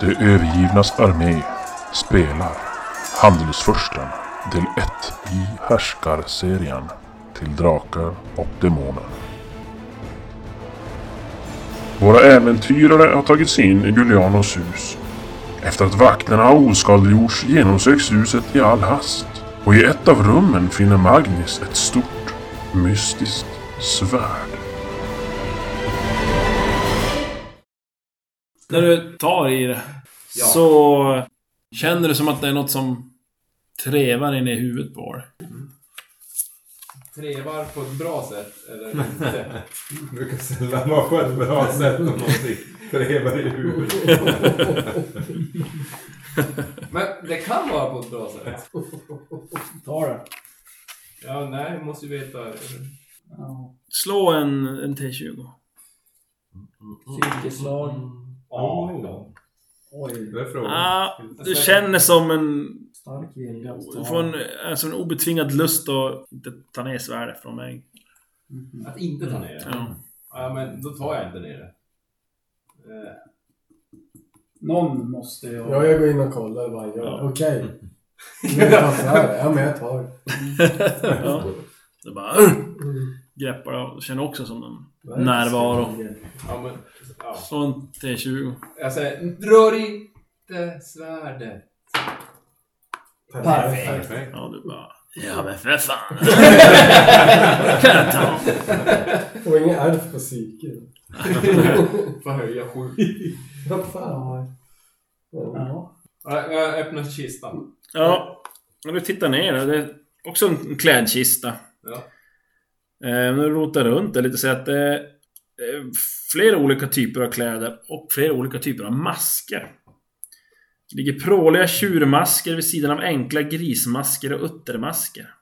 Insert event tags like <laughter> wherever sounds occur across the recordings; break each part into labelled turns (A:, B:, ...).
A: De övergivnas armé spelar Handelsfursten del 1 i Härskarserien till Drakar och Demoner. Våra äventyrare har tagit sig in i Julianos hus. Efter att vakterna har oskadliggjorts genomsöks huset i all hast och i ett av rummen finner Magnus ett stort, mystiskt svärd.
B: När du tar i det så känner du som att det är något som trevar inne i huvudet på dig.
C: Trevar på ett bra sätt eller
B: <laughs>
C: inte?
D: Jag brukar sällan vara på ett bra sätt om någonting trevar i huvudet.
C: Men det kan vara på ett bra sätt.
E: Ta den.
C: Ja, nej, jag måste ju veta.
E: Ja.
B: Slå en, en T20.
E: Cirkelslag.
F: Mm.
D: Ja.
E: Oj.
D: Det är frågan.
B: Ah, du känner som en...
E: Stark vilja att ta.
B: Från, alltså en obetvingad lust att inte ta ner svärdet från mig.
C: Att inte ta ner det.
B: Mm. Ja.
C: Ja, men då tar jag inte ner det. Eh,
E: Någon måste ju...
F: Ja, jag går in och kollar vad han gör.
B: Ja.
F: Okej. Nu är han såhär. <laughs> Ja, men jag tar det.
B: ja. Det bara... "Ugh!" Greppar av. Du Känner också som en närvaro.
C: Ja, men, ja.
B: Slå en T20.
C: Jag säger, rör inte svärdet.
E: Perfekt.
D: Perfekt.
B: Ja, du bara... Ja men för <laughs> fan. kan jag ta.
F: Och ingen ärv på psyket.
C: Får höja sju.
F: Vad fan. Ja.
E: Ja.
C: Ja, Jag öppnar kistan.
B: Ja, när du tittar ner där, det är också en klädkista.
C: Ja.
B: Eh, när du rotar runt där lite så att det är eh, flera olika typer av kläder och flera olika typer av masker. Det ligger pråliga tjurmasker vid sidan av enkla grismasker och uttermasker.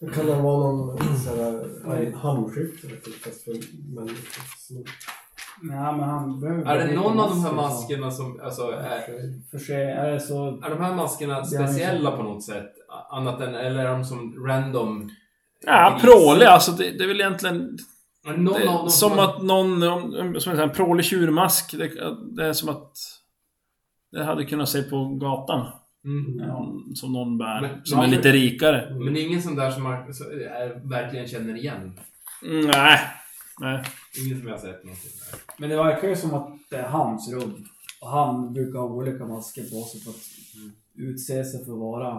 F: Det kan det vara någon sån här handskyfflare typ, fast för människor. Så-
E: Nej, men han behöver...
C: Är det någon av de här maskerna som, alltså, är,
E: För sig, är det så...
C: är liksom- de här maskerna speciella på något sätt? A- Annat än, eller är de som random?
B: Ja,
C: gris?
B: pråliga alltså. Det, det är väl egentligen...
C: Är det någon av
B: Det,
C: dem
B: som
C: har-
B: att någon... om- om- Som en sån här prålig tjurmask. Det, det är som att... Det hade kunnat se på gatan.
C: Mm.
E: Ja.
B: Som någon bär.
C: Men-
B: som är lite rikare.
C: Men det är ingen som där som man så- är, verkligen känner igen.
B: Mm, nej. Nej.
C: Ingen som jag har sett någonting där.
E: Men det verkar ju som att det är hans rum. Och han brukar ha olika masker på sig för att utse sig för att vara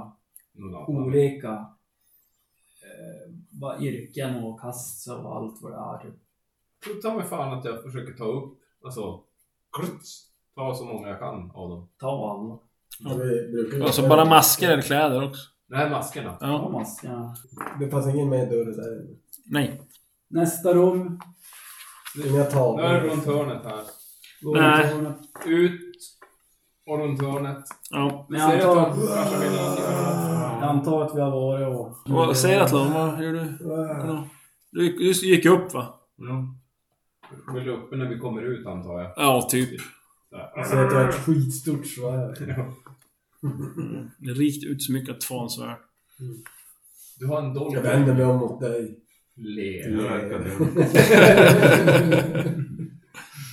C: Någon annan.
E: olika eh, vad yrken och kast och allt vad det är. typ.
C: tror ta mig fan att jag försöker ta upp, alltså, kluts, ta så många jag kan av dem.
E: Ta alla.
B: Ja.
F: Vi brukar ju-
B: Alltså bara masker eller kläder också.
C: De här maskerna.
E: Ta
B: Ja.
E: maskerna.
F: Det fanns ingen med dörr där.
B: Nej.
E: Nästa rum.
F: Inga
C: Nu är det
F: tavlor.
C: runt hörnet här.
E: Går
B: Nej.
E: runt hörnet.
C: Ut och runt hörnet.
B: Ja.
E: Men
C: Ser
E: jag
C: ut att
E: antar,
C: kanske vill
E: jag antar att vi har varit och...
B: Vad säger att Lon? Vad gör du? Du gick, du gick upp va?
C: Ja. Vill uppe när vi kommer ut antar jag.
B: Ja, typ.
F: Ah. Så att jag har ett skitstort svärd.
B: Rikt utsmyckat tvånsvärd.
C: Du har en
F: Jag
C: dolk.
F: vänder mig om mot dig.
C: Le.
D: Det verkar dumt.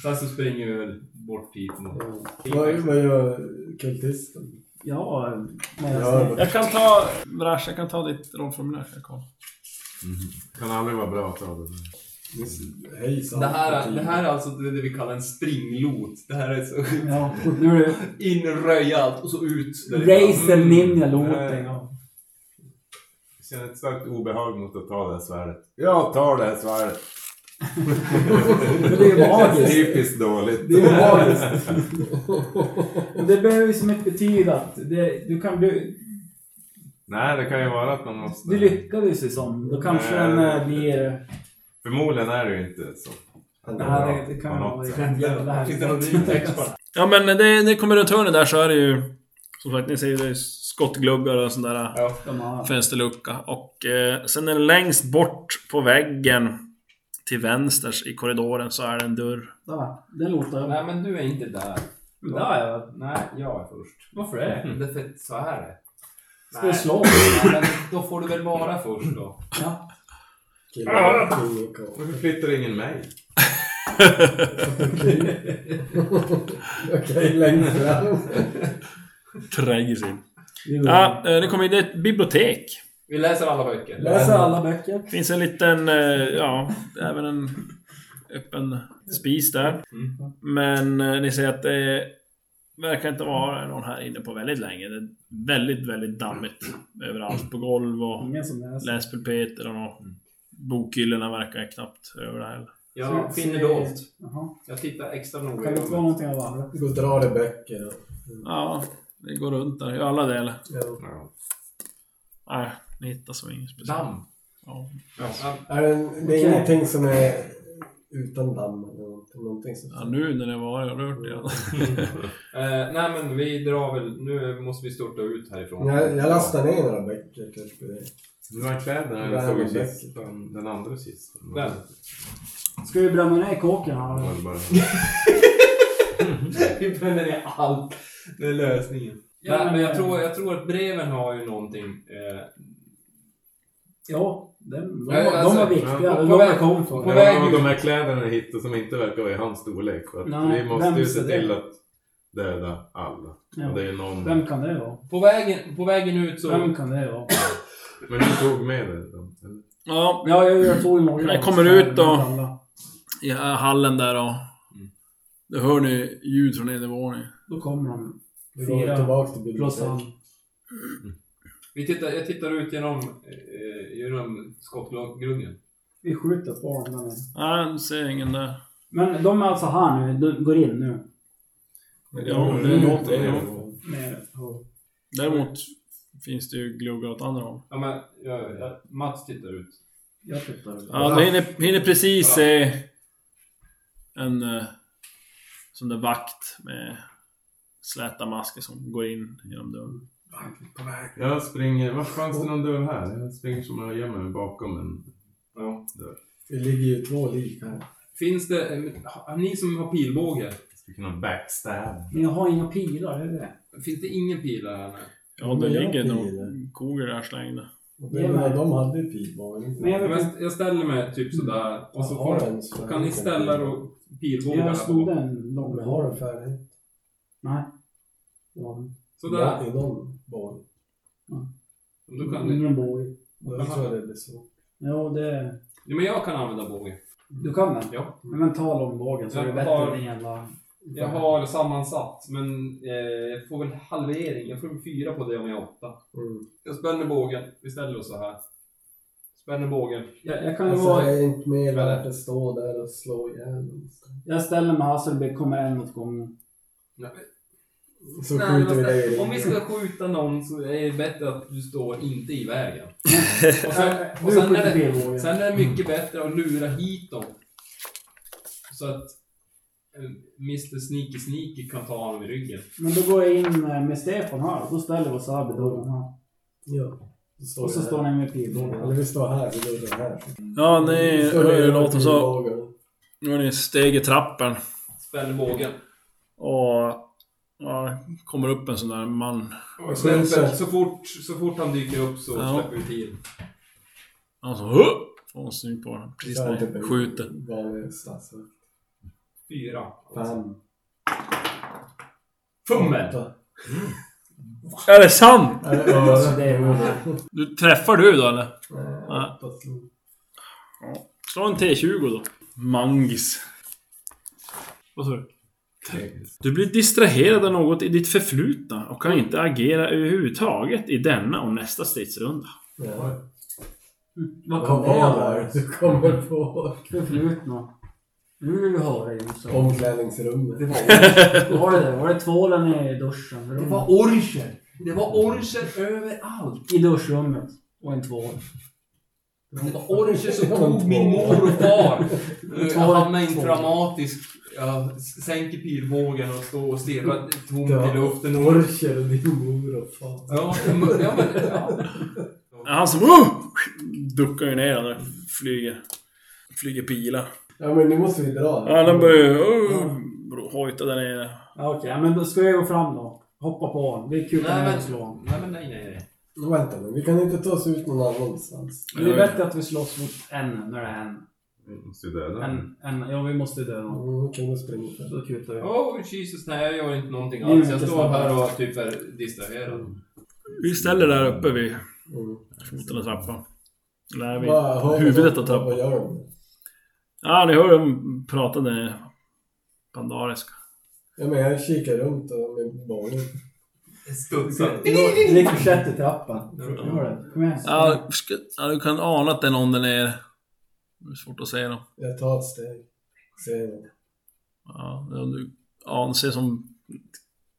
C: Sen så springer vi väl bort hit mot...
F: Vad vad gör kultisten?
E: Ja, men jag
F: Ja,
E: säger...
F: vad-
B: Jag kan ta... Vrash, jag kan ta ditt rollformulär. Jag kollar.
D: Kan aldrig vara bra att ta det.
F: Hejsan.
C: Det här, det här är alltså det vi kallar en springlot. Det här är så... <laughs>
E: Ja, nu är det
C: In, röja allt och så ut.
E: Racer Ninja låten.
D: Nej.
E: ja.
D: Jag känner ett starkt obehag mot att ta det här svärdet. Jag tar det här svärdet.
F: Men det är ju magiskt.
D: Typiskt dåligt.
F: Det är ju magiskt.
E: Men Det behöver ju som inte betyda att det, du kan bli...
D: Nej, det kan ju vara att man måste...
E: Du lyckades ju som. Då kanske den eh, blir...
D: Förmodligen är det ju inte så. Att det är bra
E: Nej, det, det
D: på
E: kan
D: något
E: vara
D: sätt.
E: en jävla
C: Finns det någon ny text på det?
B: Ja men det, det kommer runt hörnet där så är det ju... Som sagt, ni ser ju det är skottgluggar och sån där
E: De här.
B: fönsterlucka. Och eh, sen är det längst bort på väggen till vänsters i korridoren så är det en dörr.
E: Där, det låter jag.
C: Nej men du är inte där.
E: Men Där är jag.
C: Nej, jag är först.
E: Varför det?
C: Därför att så här är det.
E: Ska jag slå?
C: Nej, men då får du väl vara först då.
E: Ja.
F: Killar, king och
D: Varför flyttar ingen mig?
F: Okej, längst fram.
B: <laughs> Tränger sig in. Ja, eh, det kommer in det är ett bibliotek.
C: Vi läser alla böcker.
E: Läser alla böcker.
B: Det finns en liten, eh, ja, även en öppen spis där. Men eh, ni ser att det verkar inte vara någon här inne på väldigt länge. Det är väldigt, väldigt dammigt överallt. På golv och
E: Ingen som läser.
B: läspulpeter och något. Bokhyllorna verkar knappt över det heller.
C: Jag
E: Så-
C: finner
E: så-
C: dolt.
E: Jaha.
C: Jag tittar extra
E: Kan det inte vara
C: noga.
E: någonting av alla?
F: Gå och dra dig böcker. och-
B: Ja, det går runt där i alla delar.
F: Ja.
B: Nej, ni hittar så inget speciellt.
C: Damm.
B: Ja.
C: Ja.
F: Är det, det är
E: Okej.
F: ingenting som är utan damm eller någonting. någonting som...
B: Ja, nu när det var jag rört igen.
C: Eh, nej men vi drar väl, nu måste vi störta ut härifrån.
F: jag, jag lastar ner några böcker typ. kanske.
D: De här kläderna
F: Det
D: jag
F: här
D: såg
F: är
D: i
F: bättre.
D: kistan, den andra kistan.
C: Den.
E: Ska vi bränna ner kåken här?
D: Var det bara-
C: Vi bränner ner allt. Det är lösningen.
E: Ja,
C: nej, men jag
E: men-
C: tror, jag tror att breven har ju någonting. Eh,
E: Ja, den, de,
C: Nej,
E: de
C: alltså,
E: var viktiga.
D: ja,
E: Det
C: på
E: var de
C: väg-
E: jag kom
C: på
E: för.
D: Det
C: väg
D: var
C: ut.
D: de här kläderna jag hittade som inte verkar vara i hans storlek. Så att
E: Nej,
D: vi måste ju
E: vem
D: se
E: ser det?
D: till att döda alla.
E: Ja.
D: Och det är någon...
E: Vem kan det vara?
C: på, vägen, på vägen ut så...
E: Vem kan det vara?
D: Men du tog med dig dem? eller?
B: Ja,
E: Ja, jag, jag tog några.
B: Jag kommer ut då. i hallen där och... Då hör ni ljud från nedervåningen.
E: Då kommer de.
F: Vi går
E: Fyra.
F: tillbaka till
E: Plus han.
F: biblioteket.
C: Vi tittar, jag tittar ut genom, eh, genom skottgluggen.
E: Vi skjuter på dem. där nere.
B: Nej, du ser ingen där.
E: Men de är alltså här nu. De går in nu.
B: Ja, det låter det.
E: Med, och,
B: Däremot finns det ju gluggar åt andra håll.
C: Ja, men, jag, jag, Mats tittar ut.
E: jag tittar.
B: Ja, du hinner, hinner precis se en eh, sån där vakt med släta masker som går in genom dörren.
D: Jag springer... Var fanns det någon dörr här? Jag springer som jag gömmer mig bakom en...
C: Ja.
F: Det ligger ju två lik här.
C: Finns det... eh, har- Ni som har pilbåge.
D: Jag skulle kunna backstab.
E: Men jag har inga pilar, det är det.
C: Finns det ingen pil här inne?
B: Ja, det ligger nog koger där slängda.
F: Och det, menar, de hade ju pilbågen.
E: Men jag
C: Jag,
E: vet inte.
C: st- jag ställer mig typ sådär. Och så
F: Har
C: får,
F: en sån här
C: kan ni ställa er
F: pilbåge?
C: och pilbågarna
E: Jag
C: på.
E: snodde en lång
F: Men har den färdig?
E: Nej. det var den.
C: Sådär.
F: I någon båg.
C: Då kan
E: Ingen
C: ni.
E: båge.
F: Då tror jag det blir så.
E: Jo, det...
C: Ja, men jag kan använda båge.
E: Du kan den?
C: Ja.
E: Nej, Men ta långbågen så är det
C: Jag
E: bättre
C: har-
E: än en jävla...
C: Jag har sammansatt, men eh, jag får väl halvering. Jag får väl fyra på det om jag har åtta.
F: Mm.
C: Jag spänner bågen. Vi ställer oss så här. Spänner bågen.
E: Jag, jag kan ju
F: Alltså,
E: vara...
F: det är inte mer värt att stå där och slå ihjäl dem.
E: Jag ställer mig här så det blir- kommer en åt gången.
C: Nej,
F: Så
C: men
F: skjuter vi
C: vad
F: dig i
C: ska-
F: ryggen.
C: Om vi ska skjuta någon så är det bättre att du står inte i vägen.
F: <laughs>
C: Och sen,
E: Äh,
C: och
E: Du
C: sen,
E: skjuter
C: är, det,
E: pilbågen.
C: sen är det mycket bättre att lura hit dem. Så att eh, Mr Sneaky Sneaky kan ta honom i ryggen.
E: Men då går jag in eh, med Stefan här. Då ställer vi oss här vid dörren här.
F: Ja. Så står
E: Och så
F: vi
E: står
F: här.
E: ni med pilbågen.
F: Eller vi står här, vi gör det här.
B: Ja, ni
F: Står vi
B: hör ju
F: över
B: låten så.
F: pilbågen.
B: Nu är ni steg i trappen.
C: Spänner bågen.
B: Och... Ja, det kommer upp en sån där man.
C: Och sen, så, så, fort, så fort han dyker upp så
B: Ja.
C: släpper vi till.
B: Han som... Huh! Får en syn på den. Precis
F: Så här
B: när
F: typ
B: ni
F: en
B: skjuter.
F: Vanlig stadsvakt.
C: Fyra.
F: Fem.
C: Fummel!
F: åtta.
B: Är det sant?
F: Är det öra?
E: det är öra.
B: Du träffar du då eller?
F: Nej, åtta slog.
B: Slå en T20 då. Mangis. Vad sa du? Du blir distraherad av något i ditt förflutna och kan inte agera överhuvudtaget i denna och nästa stridsrunda.
F: Ja.
E: Vad kan
F: Vad
E: det
F: var
E: vara?
F: det du kommer på?
E: Förflutna. Nu vill vi höra Josef.
F: Omklädningsrummet.
E: Vad var det där? Var det tvålen i duschen?
C: Det var orcher! Det var orcher överallt!
E: I duschrummet. Och en tvål.
C: Det var orcher som tog min mor och far. Jag hamnade Eh, i en traumatisk... Jag s- sänker pilbågen och står och stirrar tomt i luften. Och,
F: Orcher och din mor och far.
C: ja, men- ja, men, ja.
B: Han som uh, duckar ju ner och flyger. Flyger pilar.
F: Ja men nu måste vi dra.
B: Alla börjar ju uh, hojta där nere.
E: Ja, Okej, men då ska jag gå fram då. Hoppa på honom. Det är kul
C: Nej,
E: att
C: men,
E: slå honom.
C: nej, men nej, nej, nej.
F: Men Vänta nu, vi kan inte ta oss ut någon annanstans.
E: Det är bättre att vi slåss mot en när det är en.
D: Vi måste ju döda den.
E: En, en, ja, vi måste döda honom.
F: Hon kunde springa själv.
E: Då kutar vi.
C: Oh Jesus, nej jag gör inte någonting
E: Mm,
C: alls. Jag
E: inte
C: står
E: snabbt.
C: här och typ är distraherad.
B: Vi ställer där uppe vid
F: Mm.
B: foten av trappan. Eller vid
F: Vad hör
B: huvudet av
F: de?
B: trappan.
F: Vad gör de?
B: Ja, ni hör dem prata där nere. Pandariska.
F: Ja, men jag kikar runt och med bollen.
C: Studsar.
E: Ricochet i trappan. Gör det. Kom igen.
B: Ja, sk- ja, du kan ana att det är någon där nere. Det är svårt att säga då.
F: Jag tar ett steg. Ser något.
B: Ja, det är om du anser som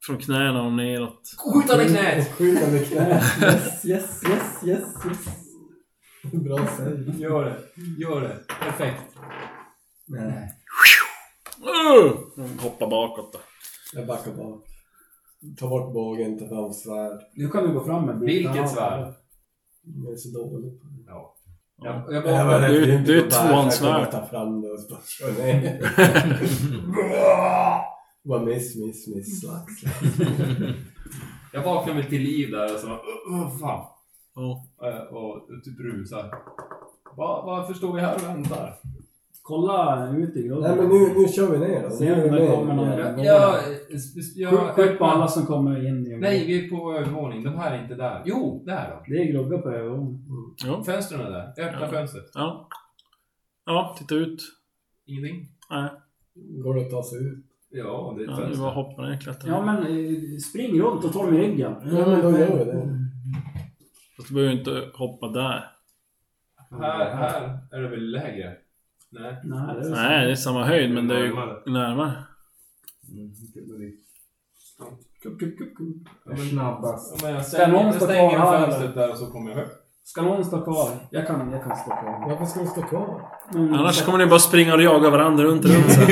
B: från knäna och neråt.
C: Skjut honom i knät!
F: Skjuta med knät. <laughs>
E: Yes, yes, yes, yes, yes.
F: Bra säg.
C: Gör det. Gör det. Perfekt.
F: eh,
E: Nej.
B: Uh! Hoppa bakåt då.
F: Jag backar bak. Ta bort bågen, ta fram svärd.
E: Nu kan vi gå fram med
C: Vilket svärd?
F: Jag är så dålig på det.
C: Jag, jag
F: Jag
C: bara...
F: var rädd
B: Du-
F: för inte
B: du är
F: på bärs, jag kommer
B: tvåhandsvärd.
F: Ta fram det och så bara kör ner. <laughs> Bara miss, miss, miss. Slack, slack.
C: Jag vaknar väl till liv där och så bara, "Åh, åh, fan.
B: Ja.
C: Eh, Och typ rusar. Va, varför står vi här och väntar?
E: Kolla ut i
F: Nej men
E: grunden.
F: nu, nu kör vi ner då.
E: Se om
F: Nu är vi
E: det
F: ner.
E: kommer någon.
C: Jag,
E: Ja.
C: jag, jag- jag,
E: Skjut- Skjut på alla som kommer in. i-
C: Nej, vi är på övervåning. De här är inte där. Jo, där då.
E: Det är Glogga på övervåningen.
F: Mm.
B: Ja.
C: Fönstren är där. Öppna
B: Ja.
C: fönstret.
B: ja. Ja, titta ut.
C: Ingenting?
B: Nej,
F: Går det att ta sig ut?
C: Ja, det är ett
B: ja, det är bara att
C: fönster.
B: hoppa ner och klättra.
E: Ja men eh, spring runt och ta dem i ryggen.
F: Ja men då gör vi det.
B: Fast du behöver ju inte hoppa där.
C: Här, här är det väl lägre? Nej.
E: Nej, det är så.
B: Nej, det är samma höjd men det är ju
D: Närmare.
B: närmare.
E: Kup, kup, kup, kup.
C: Ja, men-
E: Snabbast.
C: Ja, men jag
E: Ska någon
C: stänger, jag
E: stå
C: stänger
E: kvar här,
C: fönstret där och så kommer jag upp.
E: Ska någon stå kvar? Jag kan, jag kan stå kvar.
F: Varför ska vi stå kvar?
E: Men,
B: Annars kommer ni bara springa och jaga varandra runt och runt sen.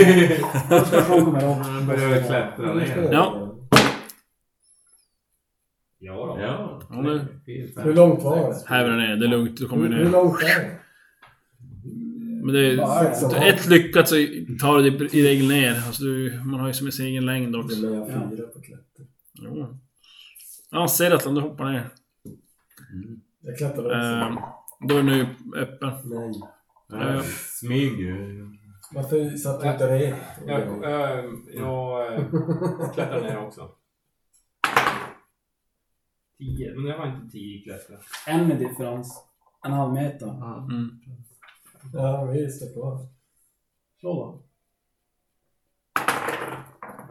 E: Oskarsson kommer upp.
D: Han <laughs> börjar klättra ner.
B: Ja.
C: Ja, då.
D: Ja.
B: Ja, nu.
D: Fint.
F: Hur långt var det?
B: Häver ner, det är lugnt. Du kommer
F: Hur, hur
B: ner.
F: långt är det?
B: Men det är...
F: Sex och en halv.
B: Ett lyckat så tar du dig i regel ner. Alltså du, man har ju som sin egen längd också.
F: Men jag har fyra på klätter.
B: Jo. Ja, ser att du hoppar ner.
F: Jag klättrar också.
B: Ehm, då är nu öppen.
F: Nej.
D: Ja, Smyg ju.
F: Varför satt du inte det?
C: Jag, eh, jag eh, klättrar ner också. Tio, men jag har inte tio i klättra.
E: En med differens. En halv meter.
B: Mm.
F: Ja, vi står kvar.
E: Slå då.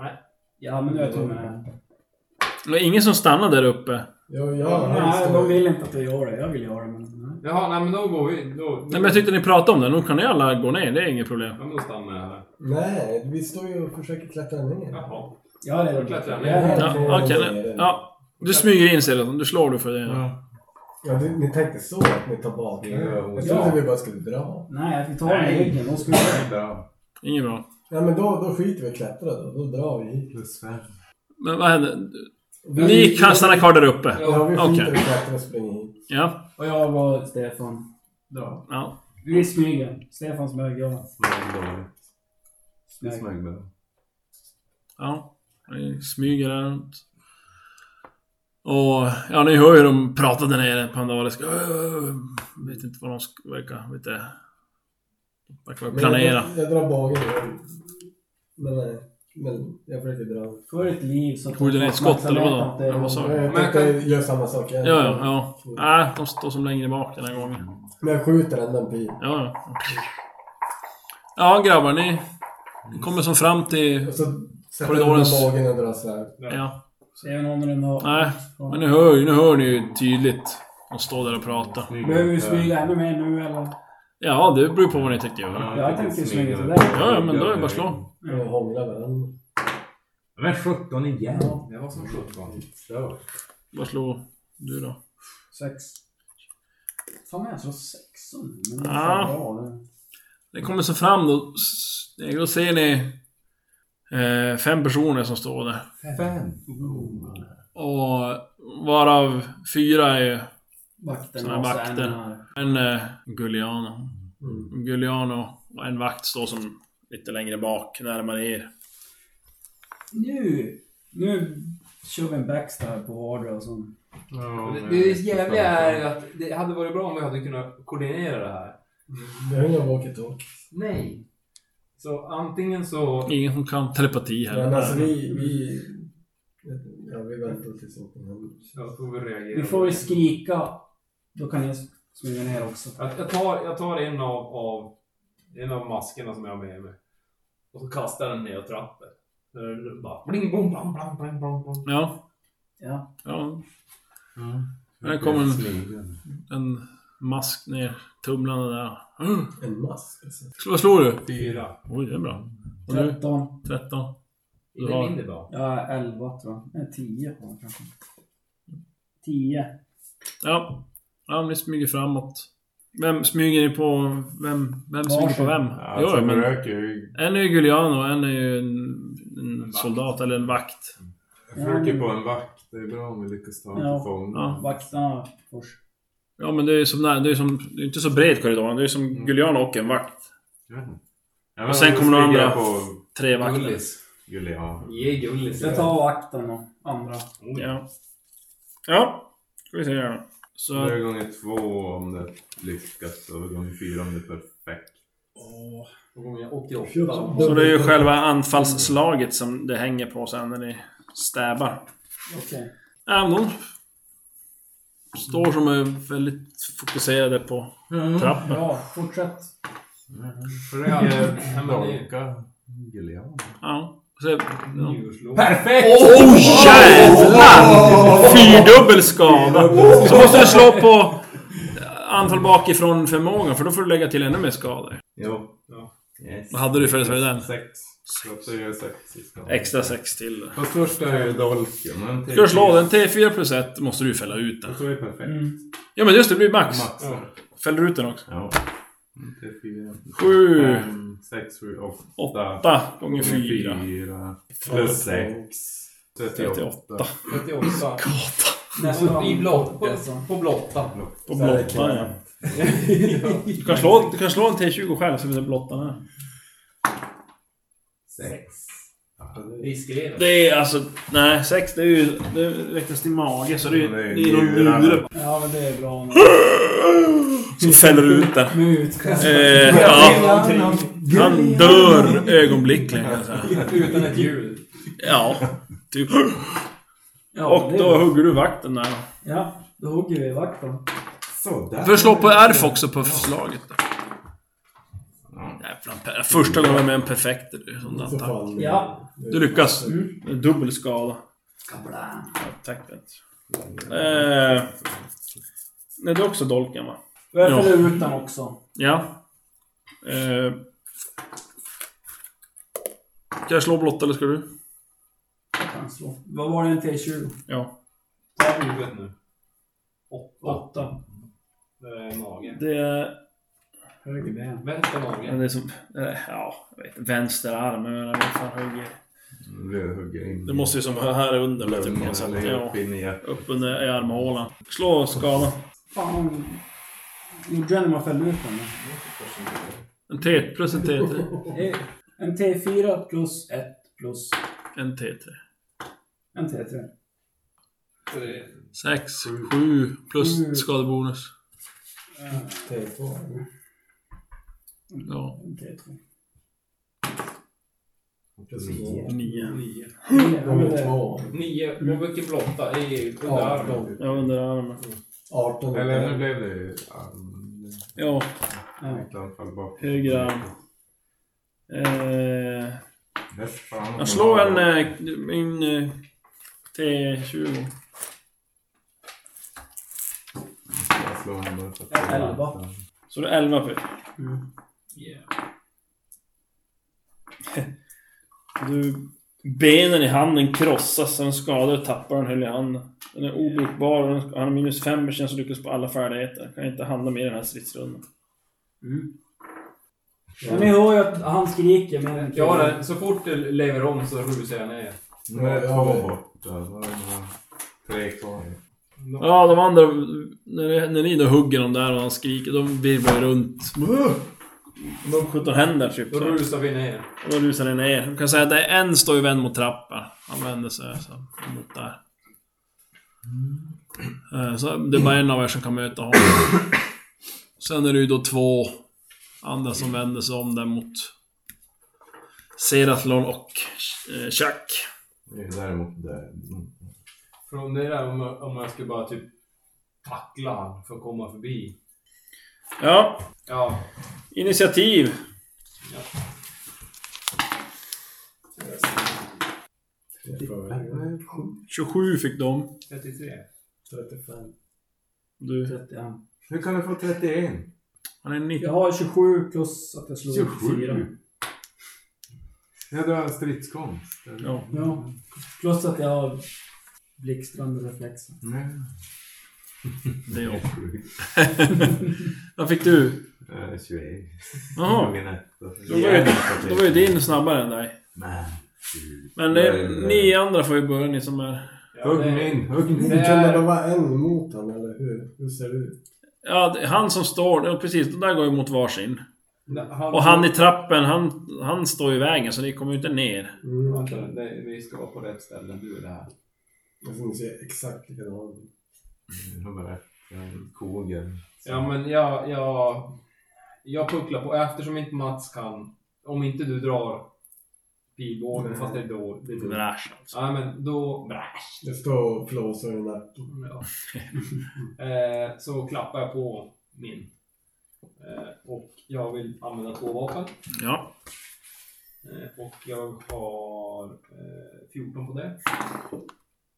C: Nej.
E: Ja, men nu är jag tummen här.
B: Det var ingen som stannade där uppe.
F: Ja, ja,
E: Nej,
F: han
E: de
F: står-
E: vill inte att jag gör det. Jag vill göra det, men nej.
C: Jaha, nej men då går vi. Då, då,
B: Nej, men jag tyckte ni pratade om det. Nu kan ni alla gå ner. Det är inget problem.
C: ja, men då stannar jag här.
F: Nej, vi står ju och försöker klättra ner.
C: Jaha.
E: Jag är
C: Då klättrar jag ner.
E: är-
B: Ja, okej. nu- Ja. Du smyger in ser du. Du slår du för det.
F: Ja, ni, ni tänkte så att ni tar bak
D: Ja,
F: Jag
D: ja.
F: trodde vi bara skulle dra.
E: Nej, jag fick ta den i
D: Nej.
E: ryggen. De skulle...
D: Bra.
B: Inget bra.
F: Ja, men då, då skiter vi i att klättra då. Då drar vi hit.
D: Plus fem.
B: Men vad hände? Ni kan stanna kvar där uppe.
F: Ja, vi skiter i
B: Okej.
F: att klättra och springer hit.
B: Ja.
E: Och jag var Stefan. Dra.
B: ja.
E: Vi smyger. Stefan smög, jag
D: Smög dåligt. Det
E: smög.
D: smög bra.
B: Ja. Ni smyger där runt. Och ja, ni hör ju de pratar där nere. Pandariska. Öh, Vet inte vad de ska- verkar... Vet inte. De verkar
F: Men
B: planera.
F: Jag, jag drar bågen. igen. Men nej. Men jag försöker dra.
E: För ett liv så...
B: Tog du ner ett skott, eller vadå? Eller vad sa du?
F: Jag
C: Men jag
F: tänkte göra samma sak igen.
B: Ja, ja, ja. Nej, de står som längre bak den här gången.
F: Men jag skjuter ändå en pil.
B: Ja, ja. Ja, grabbar, ni ni kommer som fram till...
F: Och så sätter jag
B: Korridorens-
F: undan bågen och drar svärd.
B: Ja.
E: Ser vi någon runt om?
B: Nej, men nu hör, ju- nu hör ni ju tydligt. De står där och pratar.
D: Smyg
E: Behöver vi
D: upp, ja.
E: smyga ännu mer nu eller?
B: Ja, det beror på vad ni tänker göra.
D: jag
E: tänkte
D: tycker
E: smyga till
D: upp.
E: dig.
B: Ja, ja, men då är det bara att slå.
F: Och hånglar varandra.
D: Men 17 igen.
C: Jag var som sjutton.
D: Så.
B: Vad slår du då?
E: Sex. Fan men jag tror sexan. Men
B: Ja.
E: det är fan bra det.
B: Ni kommer så fram då. s- Då ser ni eh, fem personer som står där.
D: Fem.
B: Och varav fyra är
E: Vakten
B: Såna här
E: och
B: vakter.
E: sen här.
B: en eh, Gugliano.
F: Mm.
B: Gugliano och en vakt står som lite längre bak, närmare er.
E: Nu! Nu kör vi en backstab på vardera och så.
D: Ja,
C: Det, det jävliga är ju att det hade varit bra om vi hade kunnat koordinera det här.
F: Det
D: Mm.
F: är inga walkie-talkies.
C: Nej. Så antingen så...
B: Ingen som kan telepati här.
F: Men alltså vi... vi ja, vi väntar tills åken händer.
C: Jag får väl reagera.
E: Vi får ju skrika. Då kan jag smyga ner också.
C: Jag, jag, tar, jag tar en av, av, en av maskerna som jag har med mig. Och så kastar den ner trappen. Så det Bara bling, bong, blang, blang, blang, blang, blang.
B: Ja.
E: Ja.
B: ja.
C: Mm.
B: Här kommer en, en mask ner. Tumlande där. Mm.
F: En mask alltså.
B: Vad slår du?
C: Fyra.
B: Oj, det är bra. Och nu?
E: 13.
B: 13.
C: Det är
B: Ja.
C: mindre bra.
E: Ja, 11 tror jag. Nej, 10 har jag kanske. 10.
B: Ja. Ja, ni smyger framåt. Vem smyger ni på? Vem, vem smyger på vem?
D: Ja,
B: Jo,
D: jo,
B: men-
D: röker ju...
B: En är ju Guliano och en är ju en, en
C: vakt.
B: soldat eller en vakt.
D: Jag röker på en vakt. Det är bra om vi lyckas ta honom
E: Ja.
D: till fånga.
B: Ja.
E: Vakterna först.
B: Ja men det är ju som, nä- det är som, det är inte så bred korridoren. Det är som Guliano och en vakt.
D: Ja. Ja, men
B: Och sen
D: då
B: kommer de
D: stiger jag
B: andra.
D: på
B: Tre vakter.
C: Gullis.
D: Julian.
C: Ge Gullis.
E: Jag tar vakten och andra.
B: Ja. Ja. Ska vi se här då.
D: Då är
B: Så...
D: det gånger två om det lyckas och gånger fyra om det är perfekt.
C: Då kommer jag 88.
B: Så det är ju själva anfallsslaget som det hänger på sen när ni stäbar.
E: Okej.
B: Ja, men de står som är väldigt fokuserade på trappen.
E: Bra, fortsätt.
C: Ja, men det är-
D: Dolka Julian.
B: Ja. Så, ja.
C: Perfekt!
B: Oh, jävlar! Fyrdubbel skada! Så måste du slå på antal bakifrån förmågan för då får du lägga till ännu mer skador.
D: Jo.
C: Ja.
D: Yes.
B: Vad hade du för det den?
D: Sex. Så att jag gör sex i skala.
B: Extra sex till.
D: Fast först är ju dolken. men till-
B: Ska du slå den? T4 plus 1 måste du ju fälla ut den.
D: Jag tror det är perfekt.
B: Ja men just det, det blir max.
D: Max.
B: Fäller du ut den också.
D: Ja. Mm, Tre, fyra,
B: Sju,
D: fem, sex, sju, åtta.
B: åtta gånger
D: Gånger
B: fyra.
D: fyra. Plus sex.
B: 38.
C: 88.
E: Nästa
C: I block, på,
E: alltså.
C: på blotta.
B: På blottan ja. Du kan, slå, du kan slå en T20 själv så vi ser blottan här.
D: Sex. Ja, det-
C: Riskerar.
B: Det är alltså... Nej, sex det är ju... Det räknas till mage så det är
D: Det är
B: det är någon
D: njurarna.
B: njure
E: Ja, men det är bra nu.
B: som fäller ut den.
E: Nu utkast.
B: Eh, ja, han dör ögonblickligen kan jag säga.
C: Utan ett hjul.
B: Ja, typ.
E: Ja,
B: Och
E: det är
B: då
E: bra.
B: hugger du vakten där.
E: Ja, då hugger vi vakten.
D: Sådär.
B: För slå på RF också på slaget då. Jävlar, per- första gången med en perfekt du, sån där
F: Så
B: attack.
F: fan,
E: Ja.
B: Du lyckas. Dubbel skada.
E: Kablam.
B: Ja, Tack Bent. Eh, nej, det är också dolken va?
E: Jag
B: Ja.
E: fäller ut den också.
B: Ja. Eh, ska jag slå blått eller ska du?
E: Jag kan slå. Vad var det en T20?
B: Ja.
C: Ta huvudet nu. 8.
E: 8.
C: Magen.
B: Det är...
E: Höger ben.
C: Vänster
B: ja,
C: magen.
B: Det är som... eh, Ja, jag vet inte. Vänster arm. Jag menar, vad fan hugger...
D: Nu hugger jag in.
B: Det måste ju som vara här under
D: Lungorna,
B: typ på något sätt.
D: lägger
B: Ja.
D: upp in i hjärtat.
B: Upp under i armhålan. Slå skada.
E: Fan. Gjorde jag när man fällde ut den? då?
B: En T plus en T3.
E: Det är En T4 plus 1 plus
B: En T3.
E: en T3.
C: Så det är-
B: Sex, sju
E: Sju.
B: plus skadebonus.
F: T2.
B: Ja,
E: En T3.
F: Plus två.
B: nio.
C: Nio.
F: Gånger två.
C: Nio. Och vilken blotta? I under armen.
F: Arton.
B: Ja, under armen.
F: 18.
D: Eller nu blev det ju... um,
B: Ja,
D: Ett anfall bak.
B: höger arm. Eh,
D: Där fan.
B: jag slår en... eh, Min... eh, T20.
D: Jag slår en bara för att-
E: Elva.
B: Så det är 11 Peter.
C: Yeah.
B: Du... Benen i handen krossas, sen skadar och tappar den höll i handen. Den är obrukbar och den- han har minus 5 bekänns och lyckas på alla färdigheter. Kan inte handla mer i den här stridsrundan.
E: Men ni hör ju att han skriker med en
C: Ja, det- så fort det lever om så rusar jag ner.
D: Nu är det två borta. Då är det bara Tre kvar.
B: Ja, de andra... När, när ni då hugger dem där och han skriker, de virvlar ju runt. De 17 händer typ.
C: Då
B: Så.
C: rusar vi ner.
B: Och då rusar ni ner. Du kan säga att det är en står ju vänd mot trappan. Han vänder sig så, mot där. Eh, Så det är bara en av er som kan möta honom. Sen är det ju då två Andra som vänder sig om där mot Seraflon och eh, Chuck.
D: Det är Däremot där. Mm.
C: Från det där om, jag- om jag skulle bara typ tackla han för att komma förbi.
B: Ja,
C: Ja,
B: initiativ.
F: Nej,
B: 27 fick de.
C: 33.
F: 35.
B: Du.
E: 31.
D: Hur kan du få 31?
B: Han är 90.
E: Jag har 27 plus att jag slog 4.
D: Ja, du har en stridskonst. eller?
B: Ja.
E: Ja. Plus att jag har blixtrande reflexer.
D: Nej.
B: Det är jag.
D: Sjukt.
B: Vad fick du?
D: Eh, 21.
B: Jaha.
D: Dagen efter.
B: Då var ju, då var ju din snabbare än dig.
D: Men.
B: Men det, ni andra får ju börja, ni som är...
D: Hugg min, hugg min.
C: Det
F: Kunde det
C: är,
F: vara en mot honom eller hur? Hur ser det ut?
B: Ja, det- han som står... Ja, precis. De där går ju mot varsin.
C: Nej, han,
B: Och han i trappen, han, han står i vägen så ni kommer ju inte ner.
F: Mm.
C: Vänta, nej, vi ska vara på rätt ställe. Du är där.
F: Alltså, de ser exakt likadana ut.
D: Jag bara, eh, Kogen.
C: Ja, men jag, jag, jag pucklar på. Eftersom inte Mats kan, om inte du drar pilbågen,
F: Nej.
C: fast det är då... Det är då.
B: Brash alltså.
C: Ja, men då... Bräsch.
F: Det står och flåsar i nacken.
C: Ja.
B: <laughs>
C: eh, så klappar jag <laughs> på min. Eh, och jag vill använda två vapen.
B: Ja.
C: Eh, och jag har eh, 14 på det.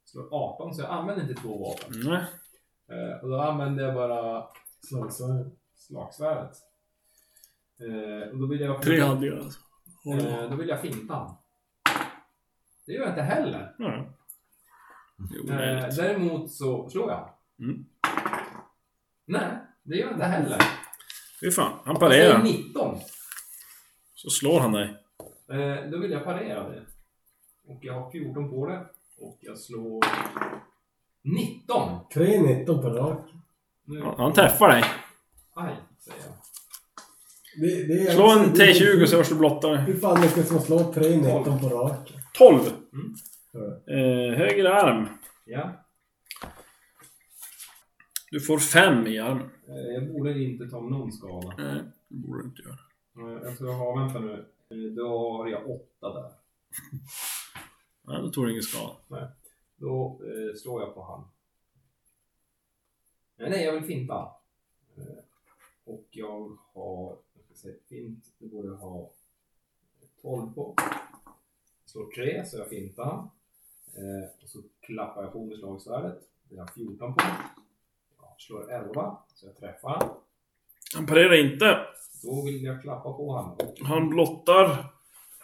C: Slår 18, så jag använder inte två vapen.
B: Nej.
C: Eh, och då använder jag bara
F: Slagsvärd.
C: slagsvärdet. Eh, och då vill jag...
B: Tre handlingar alltså.
C: Eh, då vill jag finta han. Det gör jag inte heller.
B: Ja. Det är
C: Eh,
B: omöjligt.
C: däremot så slår jag.
B: Mm.
C: Nej, det gör jag inte heller.
B: Fy fan. Han
C: Jag säger
B: parerar.
C: 19.
B: Så slår han dig.
C: Eh, då vill jag parera det. Och jag har 14 på det. Och jag slår 19.
F: 3-19 på rak.
C: Nu.
B: Ja, Han träffar dig.
C: Aj, säger jag.
F: Det, det är alltså-
B: Slå
F: också-
B: en
F: det är-
B: T20 så hörs du blottare.
F: Hur fan lyckas man slå 3-19 på rak?
B: 12! Eh, höger arm.
C: Ja.
B: Du får 5 i armen.
C: Eh, jag borde inte ta någon skada.
B: Nej, det borde du inte göra.
C: Eh, jag tror jag har, vänta nu. Eh, då har jag 8 där.
B: Nej, då tog du ingen skada.
C: Då eh, slår jag på han. Nej, nej, jag vill finta. Eh, och jag har, jag ska säga fint, det borde jag ha 12 på. Slår 3 så jag fintar. Eh, och så klappar jag på med slagsvärdet. Det har jag 14 på. Jag slår 11 så jag träffar.
B: Han parerar inte.
C: Då vill jag klappa på honom.
B: Han blottar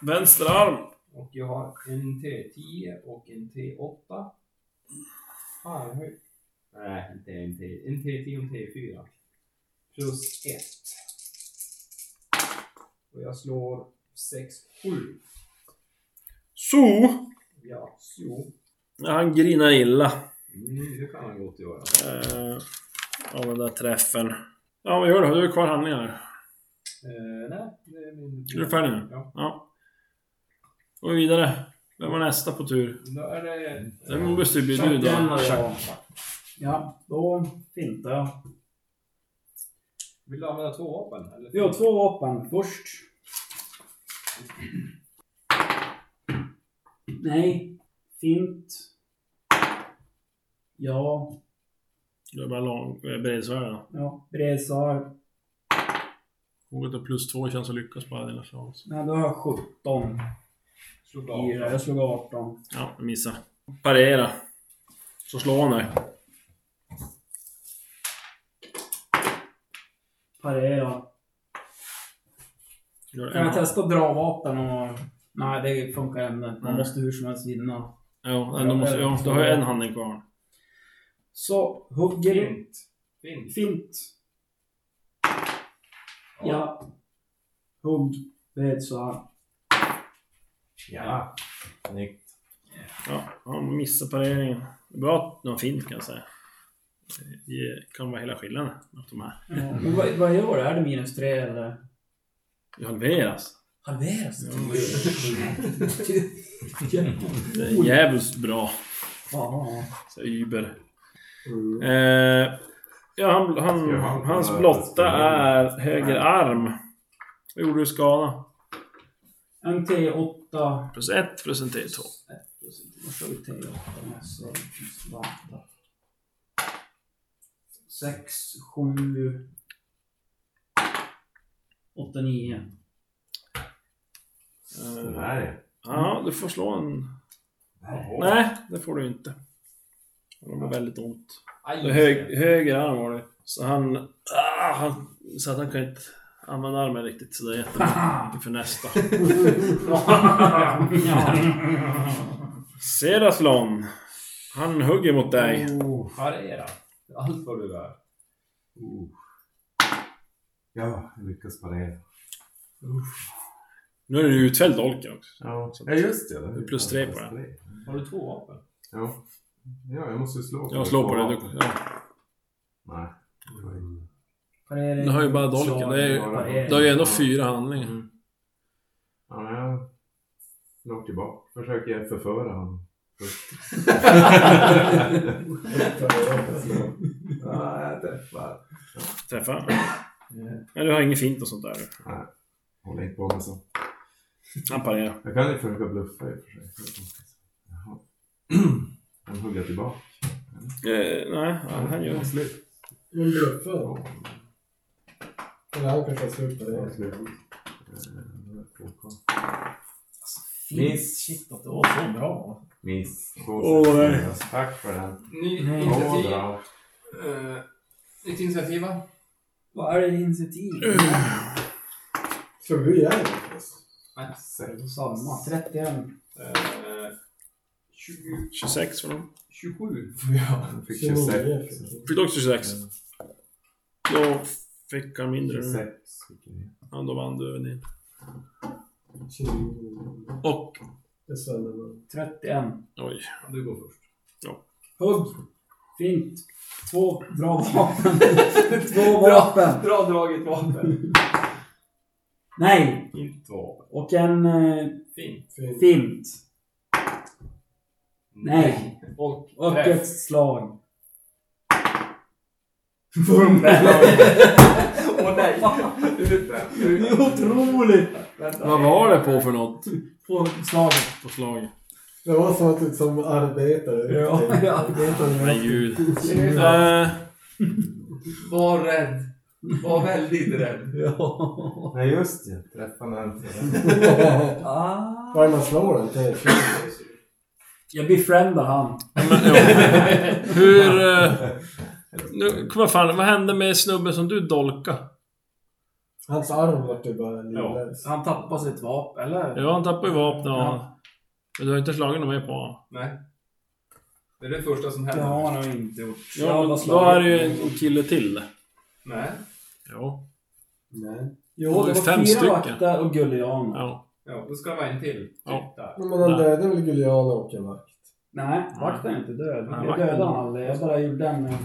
B: vänster arm.
C: Och jag har en T10 och en T8. Fan, jag har ju- Nej, inte en T. En T10 och en T4. Plus 1. Och jag slår 6, 7.
B: Så!
C: Ja, jo.
B: Ja, han grinar illa.
C: Mm, det kan han gott göra.
B: Eh, av den där träffen. Ja, vad gör du? Du är kvar handlingar.
C: Eh, nej, det är min...
B: Är du färdig nu?
C: Ja.
B: Ja. Går vi vidare. Vem var nästa på tur?
C: Då är det...
B: Det måste ju bli du då.
E: Tjackarna, ja. Ja, då fintar jag.
C: Vill du använda två vapen? Eller?
E: Vi har två vapen. Först. Nej. Fint. Ja.
B: Du är bara lång... eh, Bredsvärd
E: Ja. Bredsar.
B: Något av plus två känns att lyckas på alla dina slag.
E: Nej, då har jag 17.
C: Slå
E: i det.
C: bra.
E: Jag slog 18.
B: Ja, jag missade. Parera. Så slår han dig.
E: Parera.
B: Gör det
E: Kan jag
B: en-
E: testa att dra vapen och... Nej, det funkar ändå. Man
B: Nej.
E: måste hur som helst vinna.
B: Ja, men då måste, ja, då har jag en handling kvar.
E: Så, hugger.
C: Fint. Fint.
E: Fint. Ja. Hugg. Bredsar.
D: Ja. Snyggt.
B: Ja, han missar pareringen. Bra att de har fint kan jag säga. Det kan vara hela skillnaden. Att de här
E: Ja, Men vad, vad gör det? Är det minus tre eller?
B: det halveras.
E: Halveras <laughs>
B: Det är jävligt bra.
E: Ja.
B: Så Uber.
F: Mm.
B: Eh, ja, han, han, hans blotta är höger arm. Vad gjorde du i skada?
E: En T8.
B: Plus 1 plus en T2.
E: Då kör vi T8 nästa. Vänta. 6, 7... 8, 9.
D: Den
B: Eh,
D: här är...
B: Ja, du får slå en... Nej, det får du inte. Det var väldigt ont. Det
C: Aj!
B: var Hög, höger arm var det. Så han... Ah, han så att han kan inte använda armen riktigt så det är <laughs> jättebra för nästa. Seraflon. Han hugger mot dig.
C: Oh, Parera. Allt vad du är.
D: Uh. Ja, jag lyckas parera.
B: Nu är du utfälld dolken också.
D: Ja, ja just det.
B: är plus tre på
D: den.
C: Har du två vapen?
D: Ja. ja, jag måste ju slå
B: Jag slår på
D: det.
B: dig. Du, ja.
D: Nej.
E: Parering.
B: du har ju bara dolken. Det är, ju-
E: Parering.
B: du har ju ändå fyra handlingar.
D: Ja, men jag slår tillbaka. Försöker jag förföra honom.
C: <laughs>
D: Ja, jag träffar.
B: Träffar. Men du har inget fint och sånt där.
D: Håller inte på med så.
B: Han parerar.
D: Jag kan ju försöka bluffa i och för sig. Jaha. <clears throat> Han hugger tillbaka.
B: Eh, nej, ja, han gör det.
F: Men bluffa då. Eller han kanske har slut på
D: Det är
F: det.
D: slut. Eh, det är två kvar.
E: Miss. Shit att det var så bra.
D: Miss. Två
B: Åh,
D: sex,
B: nej.
D: fyra. Tack för den.
C: Ny
D: Åh,
C: initiativ.
D: bra.
C: Eh, Nytt initiativ va?
E: Vad är det initiativ?
F: Slog du ihjäl
D: Sex.
E: Samma. 31.
C: Eh, 20,
B: 26 för dem.
C: 27.
F: <laughs>
D: Han fick 26.
F: 29.
B: Fick du också 26? Då fick han mindre.
D: 26. fick jag.
B: Ja, då vann du över din.
F: 29.
B: Och...
F: Det är Sven.
E: 31.
B: Oj.
C: Du går först.
E: Hugg. Fint. Två bra vapen. <laughs> Två vapen.
C: Dra draget vapen.
E: Nej.
C: Inte vapen.
E: Och en eh,
C: Fint.
F: Fin.
E: fint. Nej.
C: Och,
E: Och
C: träff.
E: ett slag.
C: <laughs> Åh nej!
E: Det är otroligt.
B: Vad var det på för något?
E: På slaget.
B: På slaget?
F: Det var som att du som arbetare.
E: Ja, ja.
F: <laughs> arbetare.
B: Herregud. Eh,
C: Var rädd. Var väldigt rädd.
E: Ja.
D: Nej, just det. Träffade den.
E: Ah.
F: Vad är det man slår den till?
E: Jag befriendar han.
B: men, ja. Hur... Eh, nu, vad fan, vad hände med snubben som du dolka?
F: Hans arm vart ju bara livlös.
E: Han tappar sitt vapen, eller?
B: Ja, han tappade ju vapnet och... Men du har inte slagit något mer på honom?
C: Nej. Det är det första som
E: Det
C: händer.
E: har han nog inte gjort. Jag
B: Ja,
E: har
B: men
E: bara
B: då
E: slagit.
B: är det ju en kille till.
C: Nej.
B: Ja.
F: Nej.
E: Jo,
B: det var
E: det var
B: fem
E: fyra
B: stycken.
E: vakter och Gullian.
B: ja.
C: Ja, då ska det vara en till.
B: Ja.
C: Där.
F: Men han
B: Nej.
F: dödade väl Guliana och en vakt?
E: Nej, vakten är inte död.
B: Nej,
E: Jag
B: vakten-
E: dödade han aldrig. Jag bara gjorde en... eh,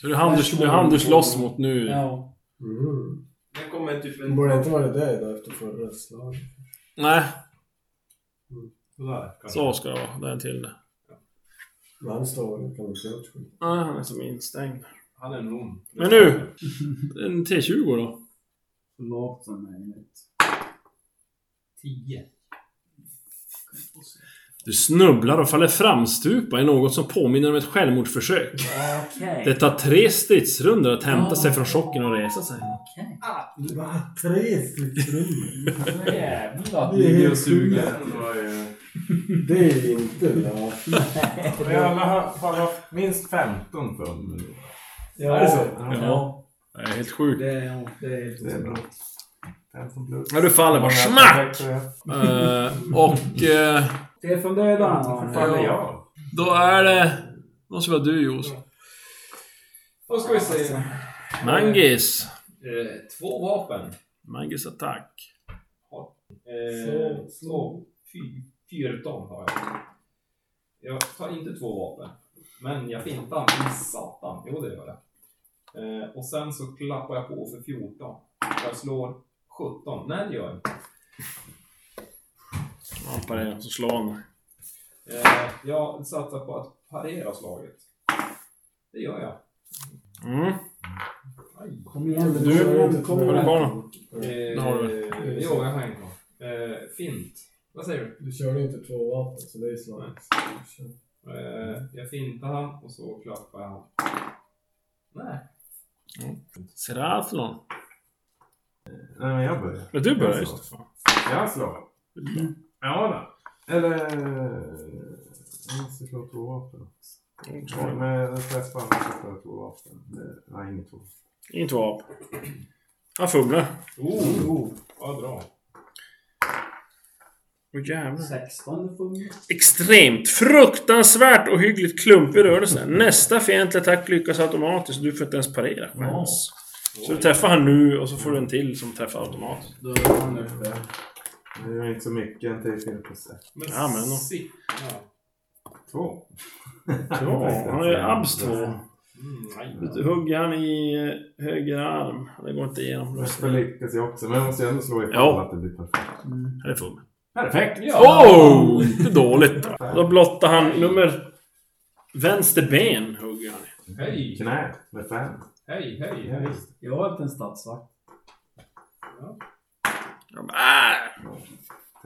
B: Så det är han du, det är han du slåss mot nu.
E: Ja.
F: Mm.
C: Det kommer typ
F: Hon
C: en...
F: borde inte vara död då efter förra slaget.
B: Nej,
C: Sådär. kanske.
B: så ska det vara. Det är en till. Nej,
F: Men han står och kan inte göra ett skit.
B: han är som instängd.
C: Han är en hon.
B: Men nu! <laughs> En T20 då.
E: Så lågt som möjligt.
C: Tio.
B: Du snubblar och faller framstupa i något som påminner om ett självmordsförsök.
E: Okej.
B: Det tar tre stridsrundor att hämta sig från chocken och resa sig.
E: Okej.
F: Va? Tre stridsrundor?
E: Jävlar.
F: Det är helt sjukt.
D: Den var ju...
F: Det är inte bra.
D: Vi alla har, har haft minst 15 pund.
E: Ja.
D: Är det så?
E: Ja.
B: Det är helt sjukt.
E: Det är, ja, det är helt
D: Det är bra.
E: otroligt.
D: 15 plus.
B: Ja, du faller bara smack! Eh, <laughs> och eh,
E: Stefan dödar han.
D: Faller jag?
B: då är det... Måste vara du Jos.
C: Då ska vi se.
B: Mangis.
C: Eh, två vapen.
B: Mangis attack.
C: Eh, slå. Fy, 14 har jag. Jag tar inte två vapen. Men jag fintar. i Satan. Jo, det gör jag. Eh, och sen så klappar jag på för 14. Jag slår 17. Nej, det gör jag inte.
B: Han parerar, så slår han.
C: Eh, jag satsar på att parera slaget. Det gör jag.
B: Mm.
E: Kom igen
B: Du,
E: du.
B: har du kvar någon?
C: Eh,
B: Det har du
C: Jo, jag har en kvar. Eh, fint. Vad säger du?
F: Du körde inte två vapen, så det är slag.
C: Eh, jag fintar han och så klappar jag han. Nej.
B: Seraflon.
D: Nej, men jag börjar.
B: Ja, du börjar just det.
D: Jag slår. Ja, då. Eller... eh, Jag måste slå två vapen. Ja, Men jag träffar honom så får jag två vapen. Det- Nej, inget två.
B: Inget vap. Han fumlar.
C: Oh, oh. Vad bra.
B: Åh jävlar.
G: 16 fumlar.
B: Extremt, fruktansvärt och hyggligt klumpig rörelse. Nästa fientlig attack lyckas automatiskt. Du får inte ens parera chans. Så du träffar han nu och så får du en till som träffar automatiskt.
G: Då är han uppe.
D: Det är inte så mycket. En T4 plus ett.
C: Men
B: Ja, men då.
C: sick. Ja.
D: Två.
B: Ja, han har ju abs två.
C: Mm, nej.
B: Du hugger han i eh, höger arm. Det går inte igenom.
D: Nästa lyckas jag också. Men jag måste ju ändå slå ifall
B: Ja.
D: att det blir perfekt.
B: Här är fummel.
D: Perfekt!
B: Oh! Inte dåligt. Då blottar han nummer... Vänster ben hugger han i.
C: Hej,
D: Knä med fem.
C: hej, hej, hej.
G: Jag har inte en stadsvakt.
B: Ja, men,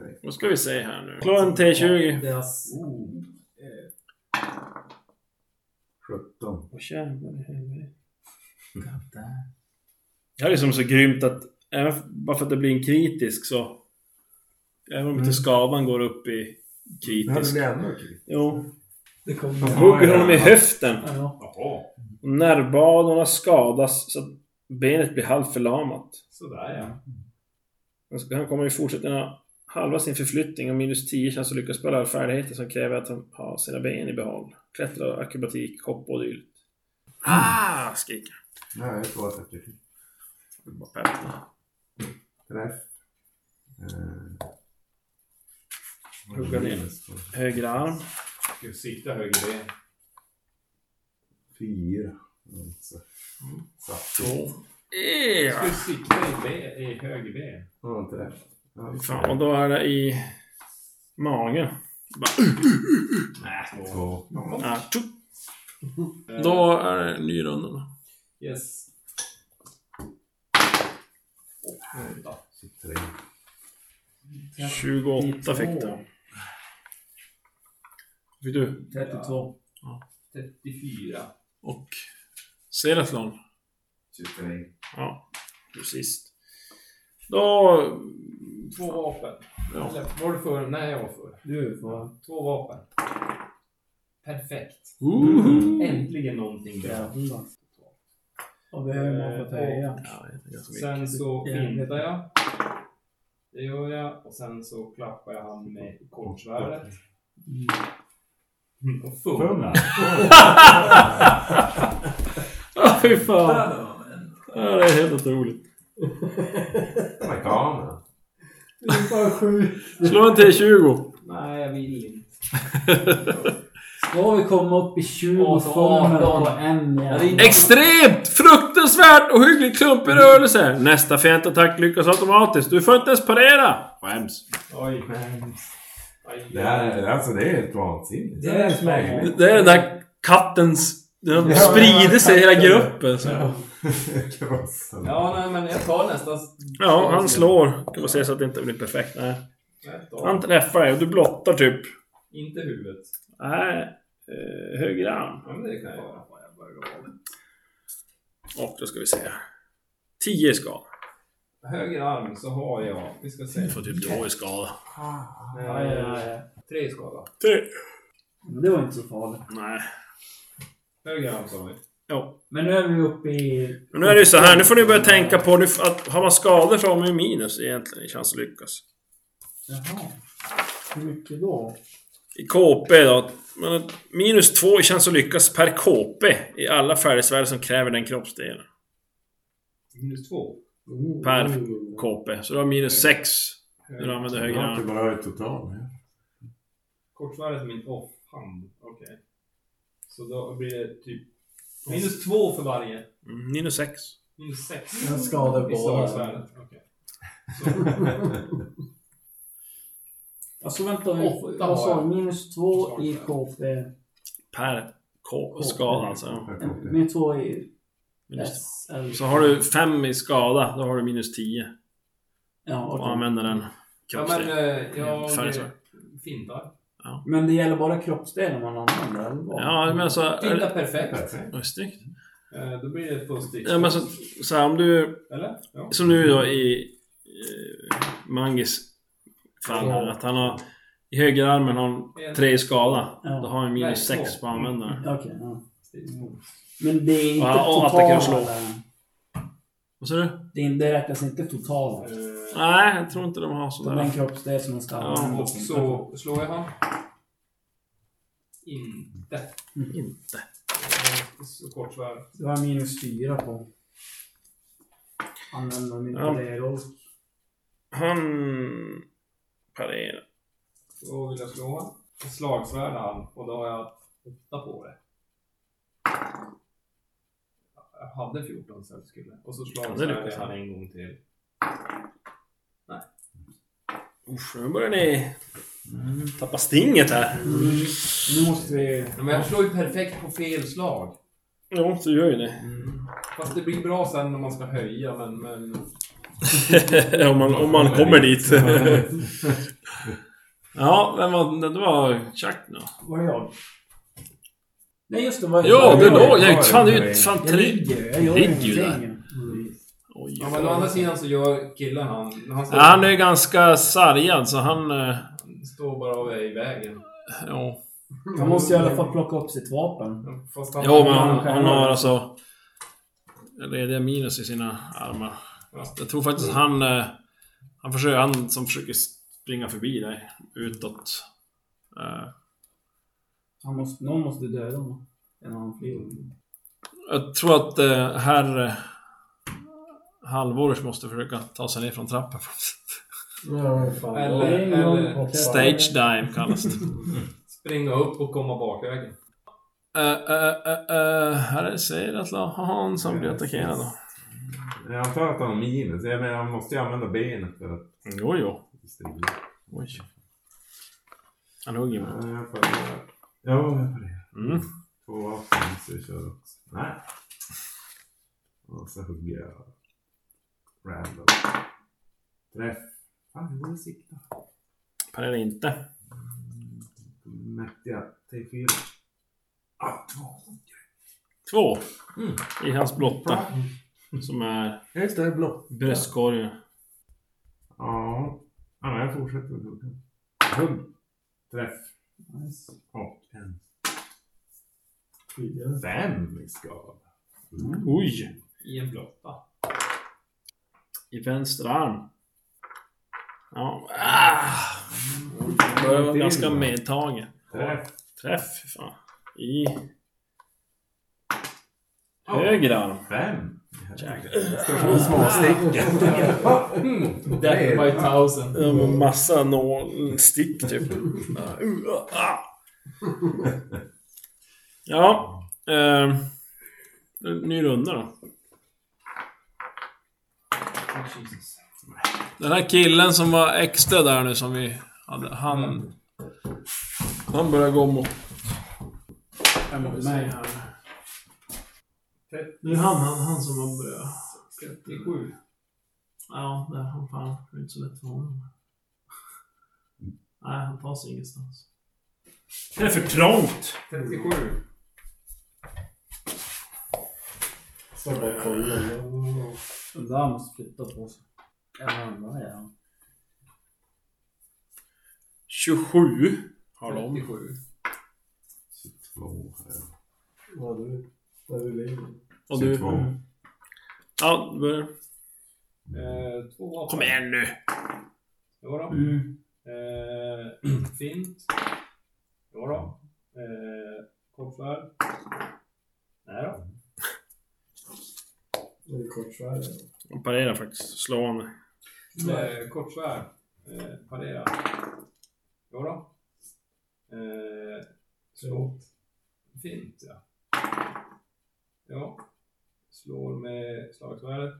B: äh! Vad ska vi se här nu? Slå en T20.
G: Deras...
C: Oh.
D: 17.
B: Åh, jävlar i helvete. Det här är som så grymt att även f- bara för att det blir en kritisk så... Även om inte skadan går upp i
D: Det här
B: kritisk.
D: blir ändå okej.
B: Jo.
G: Det kommer...
B: Hugger honom i höften.
G: Ja.
C: Jaha,
B: Och Nervbanorna skadas så att benet blir halvförlamat.
C: sådär ja.
B: Han ska- Han kommer i fortsättningen ha halva sin förflyttning och minus 10 chans att lyckas spela färdigheter som kräver att han har sina ben i behåll. Klättra, akrobatik, hopp och dylikt. Ah! Skriker
D: Nej, jag tror att det blir
B: han. Bara peppar.
D: träff. Eh,
B: Hugga ner. Höger arm.
C: Gud, sikta höger ben.
D: Fyra. Alltså. Satt.
B: Två.
C: Ska du sikta i, ben, i höger ben?
D: Ja, en träff. Ja,
B: Fan, och då är det i magen.
C: Nej, två.
D: Två.
B: Ah, tjup.
C: Mm.
B: Då är det en ny runda. då.
C: Eh, Yes.
D: Tre.
B: 28 fick du. Fick du?
G: 32.
C: 34.
B: Och Seratlon.
D: 23.
B: Ja, precis. Då...
C: Två vapen.
B: Ja.
C: Eller, var du för? Nej, jag var för.
G: Du får...
C: Två vapen. Perfekt. Äntligen någonting bra.
G: Jävlar. Och det är man fått höja.
B: Ja, det är ganska mycket.
C: Sen så
G: Jävligt.
C: fintar jag. Det gör jag. Och sen så klappar jag han med kortsvärdet. Och fumlar.
B: Ah, fy fan! Ja, det är helt otroligt.
D: Amerikaner.
B: Slå en T20.
C: Nej, jag
B: <laughs>
C: vill inte.
G: Ska vi komma upp i 20
C: Åh, så
G: fångar på
C: 18.
G: en
C: Jag
G: igen?
C: ringer.
B: Extremt! Fruktansvärt och hyggligt klumpig rörelse. Nästa fientattack lyckas automatiskt. Du får inte ens parera. Skäms.
C: Oj.
D: Det här är, alltså det är helt vansinnigt.
G: Det är
B: Det- Det är den där kattens... Den sprider sig i hela gruppen. Så.
D: Krossen.
C: Ja, nej, men jag tar nästan...
B: Ja, han slår. Kan man säga så att det inte blir perfekt. Nej.
C: Nej,
B: Han
C: då.
B: träffar dig och du blottar typ...
C: Inte huvudet.
B: Nej. eh, Höger arm.
C: Ja, men det kan jag göra.
B: Och då ska vi se. 10 i skada.
C: Höger arm så har jag... Vi ska se. Eh,
B: Du får typ 2 i skada.
G: Ja, ja, ja.
C: Tre i skada.
B: Tre.
G: Men det var inte så farligt.
B: Nej.
C: Höger arm sa vi.
B: Jo.
G: Men nu är vi uppe i...
B: Men nu är det ju så här. Nu får ni börja tänka på nu f- att har man skador så har man ju minus egentligen i chans att lyckas.
G: Jaha. Hur mycket då?
B: I KP då. Men minus två i chans att lyckas per KP i alla färdighetsvärden som kräver den kroppsdelen.
C: Minus två.
B: Per KP. Så du har minus sex när
C: Eh,
B: du använder höger
D: Ja,
B: arm.
D: det bara är total. ja.
C: Kortsvärdet min off-hand. Okej. Så då blir det typ... Minus två för varje.
B: Mm, minus sex.
C: Minus sex.
F: Jag skadar
C: I
F: båda.
C: slagsvärdet. Okej.
B: <laughs>
G: Alltså vänta nu.
C: Åtta
G: Vad
C: har
G: sa
C: jag.
G: du? Minus två i eh,
C: Slagsvärde.
G: KP.
B: Per K skada alltså. ja.
D: Perfekt.
G: Minus två i...
B: Minus
G: S, L.
B: Så har du fem i skada, då har du minus 10.
G: Ja,
B: Och
G: okej.
B: använder den
C: Ja, men
B: kroppsdelen.
C: eh, jag
B: Färdigt, va?
C: fintar.
G: Men det gäller bara kroppsdelen man använder, eller vad?
B: Ja, men så...
C: Fintar perfekt.
D: Perfekt.
B: Oj, snyggt.
C: Eh, Då blir det ett positivt.
B: Ja, men så, så här, om du...
C: Eller? Ja.
B: Som nu då i eh, Mangis fall här, att han har... I högerarmen har han tre i skada.
G: Ja.
B: Då har han
C: Nej,
B: minus
C: två.
B: sex på
C: Mm.
B: användaren.
G: Okej, ja.
C: Stilsmord.
G: Men det är inte
B: Ja, och
G: totala...
B: attacker och slå. Vad sa du?
G: Det, är- det räknas inte totala.
C: Eh,
B: Nej, jag tror inte de har
G: Det är en
B: sådär.
G: kroppsdel som man ska
B: Ja,
G: använda.
C: Och så slår jag han. Inte.
B: Mm, Inte.
C: Eh, Så kort svärd.
G: Det var minus fyra på... Använda min
B: Ja.
G: kollegor.
B: Han... Parerar.
C: Då vill jag slå han. Slagsvärd han. Och då har jag åtta på det. Jag hade 14 så jag skulle. Och så
B: Ja, det
C: slagsvärd
B: lyckas
C: han
B: han.
C: en gång till.
B: Usch, nu börjar ni
C: Mm.
B: tappa stinget här.
G: Nu måste vi...
C: Ja, Men jag slår ju perfekt på fel slag.
B: Ja, du gör ju det.
C: Fast det blir bra sen när man ska höja, men... men...
B: <laughs> om, man, om man kommer
C: <laughs>
B: dit. ja, vem var det? var Chuck nu.
G: Var det jag? Nej, just det. Var
B: Ja,
G: var
B: det
G: jag.
B: låg... Jag, fan, det är ju fan
G: Jag
B: tre...
G: ligger ju. Jag gör
B: Ligger ju där.
G: ingenting. Mm.
B: Oj,
C: Ja, men å andra sidan så gör killen han... Han står,
B: Ja, han är ju ganska sargad så han... eh,
C: han står bara och är i vägen.
B: Ja,
G: Han måste i alla fall plocka upp sitt vapen.
C: Fast han...
B: ja men han, han har alltså... Lediga minus i sina armar. Jag tror faktiskt han... eh, Han, försöker, han som försöker springa förbi dig utåt. Eh,
G: Han måste, någon måste döda honom. En annan flyger.
B: Jag tror att eh, herr eh, Halvorus måste försöka ta sig ner från <laughs> trappan.
F: Ja, men fan.
C: Eller-
F: Ja,
C: eller-
F: okej,
B: Stage dive kallas det.
C: Springa upp och komma bakvägen.
B: Eh, eh, eh, eh, här är Seiratlahan som blir attackerad då.
D: Jag antar att han har minus. Jag menar, han måste ju använda benet för att
B: Jo, jo.
D: strida.
B: Oj. Han hugger mig.
D: Ja, jag parerar. Ja, jag parerar.
B: Mm.
D: Två vapen så jag kör också. Nej. Och så hugger jag. Random. Träff. Fan, jag borde sikta.
B: Parerar inte.
D: Mätte jag. T4. Ah, två.
B: Två.
D: Mm.
B: I hans blotta. Som är
F: Ja, Just det, blå.
B: bröstkorgen.
D: Ja. ja men jag fortsätter att hugga. Hugg. Träff. Och en.
F: Fyra.
D: Fem i skada.
B: Oj!
C: I en blotta.
B: I vänster arm. Ja. Ah. Börjar vara ganska medtagen.
D: Träff.
B: Träff, fy fan. I höger arm.
D: Fem.
C: Death by thousand.
B: Det var massa nål, stick typ. Ja. Eh, ny runda då.
C: Oh, Jesus.
B: Den här killen som var extra där nu som vi hade, han... Han börjar gå mot... Jag måste se här. Det är han, han, han som har börjat...
C: 37.
B: Ja, det är han fan. Det är inte så lätt för honom. Nej, han tar sig ingenstans. Det är för trångt!
C: 37.
F: Så jag bara kollar.
G: Den där måste flytta på sig. Eller vad är han?
B: 27 har de.
C: 37.
D: Två. här.
F: Vad har du? Där du ligger.
B: Och du...
D: Två.
B: Ja, du börjar.
C: Eh, två vapen.
B: Kom igen nu!
C: Jodå.
G: Mm.
C: Eh, <clears throat> fint. Jodå. Eh, Kortsvärd. Nej då.
F: Det är kortsvärd.
B: De parerar faktiskt. Slående.
C: Eh, kortsvärd. Eh, parera. Jodå. Eh, slå. Fint ja. Ja. Slår med slagsvärdet.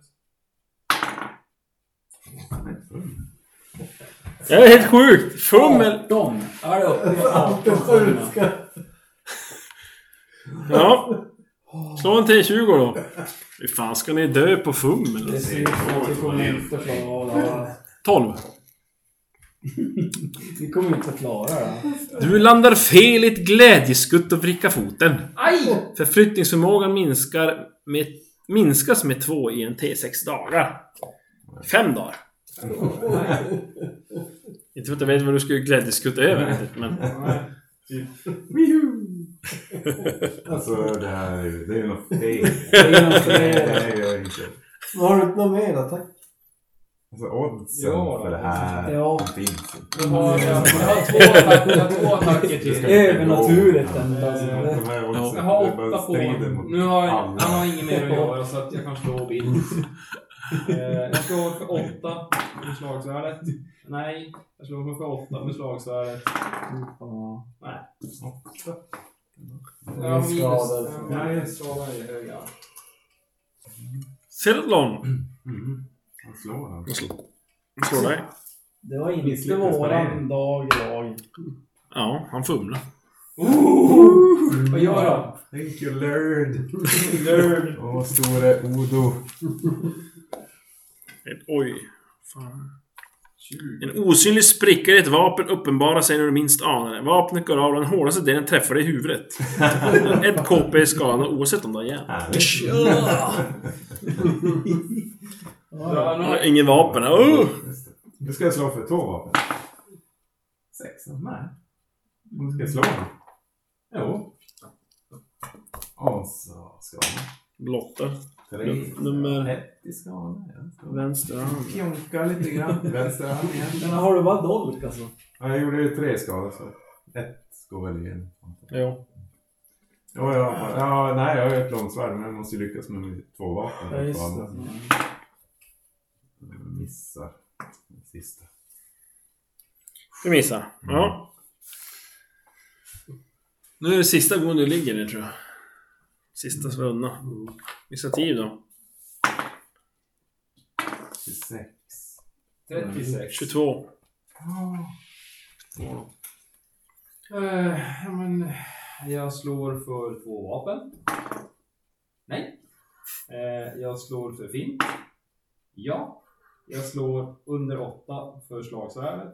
B: Det är helt sjukt! Fummel!
G: De! Är det uppe i 18
F: Allt är sjuka.
B: Ja. Slå en T20 då. Hur fan ska ni dö på fum
G: Det
B: eller?
G: ser ut som att vi kommer inte att klara av det här.
B: 12.
G: Vi kommer inte att klara det här.
B: Du landar fel i ett glädjeskutt och vrickar foten.
C: Aj!
B: Förflyttningsförmågan minskar med, minskas med 2 i en T6 dagar. Fem dagar. Inte för att jag vet vad du skulle glädjeskutta över riktigt, men...
D: Alltså det här är ju- det är ju något fel.
G: Det är
E: Alltså,
G: något
D: Nej,
G: fel.
D: det gör jag inte.
F: Har du inte något mer attack?
D: Alltså oddsen
C: Ja,
D: för det här
G: ja.
D: finns inte.
C: Jag har, jag, har två attacker, jag har två <laughs> attacker till.
G: Övernaturligt ändå.
D: De
G: Alltså. Det-
D: här
B: Ja.
D: oddsen,
C: Jag har
D: det bara
C: åtta på
D: strider
C: honom.
D: mot
C: Nu har jag,
D: alla.
C: han har inget mer att göra så att jag kan slå vilt. Eh, jag slår för åtta med slagsvärdet. Nej, jag slår för åtta med slagsvärdet.
G: Ja.
C: Jag har minus...
F: Skadad.
C: Jag har minus skada i höga.
B: Sedlon!
D: Mm. Han slår han.
B: Slår dig.
G: Det var inte
D: Misslyckas med
G: våran dag idag.
B: Ja, han fumlar.
C: Vad gör jag?
D: Thank you lord.
C: <laughs>
D: lord. Åh store Odo.
B: En- Oj. Fan. En osynlig spricka i ett vapen uppenbarar sig när du minst anar det. Vapnet går av och den hårdaste delen träffar dig i huvudet. Ett KP är skadan oavsett om du har järn.
C: Ja, nu
B: Han
C: har
B: har ingen vapen. Oh!
D: Just det. Nu ska jag slå för två vapen. Sex? Nej. Nu ska jag slå. Jo. Och så ska man.
B: Blotta.
D: Tre.
B: Nummer-
D: ett i skala. ja. Så
B: Vänster hand.
D: Pjonkar lite grann. Vänster hand igen.
G: Men har du bara dolk alltså?
D: Ja, jag gjorde ju tre skador så ett går väl igen.
B: Jo.
D: Ja, ja, ja, nej, jag har ju ett långsvärd men jag måste ju lyckas med mitt två vapen.
G: Ja, just
D: På
G: det.
D: andra. Jag missar den sista.
B: Du missar. Ja. Mm. Nu är det sista gången du ligger ner tror jag. Sista runda. Initiativ då.
D: 26.
C: 36.
B: 22.
C: Eh, ja, men jag slår för två vapen. Nej. Eh, jag slår för fint. Ja. Jag slår under åtta för slagsvärdet.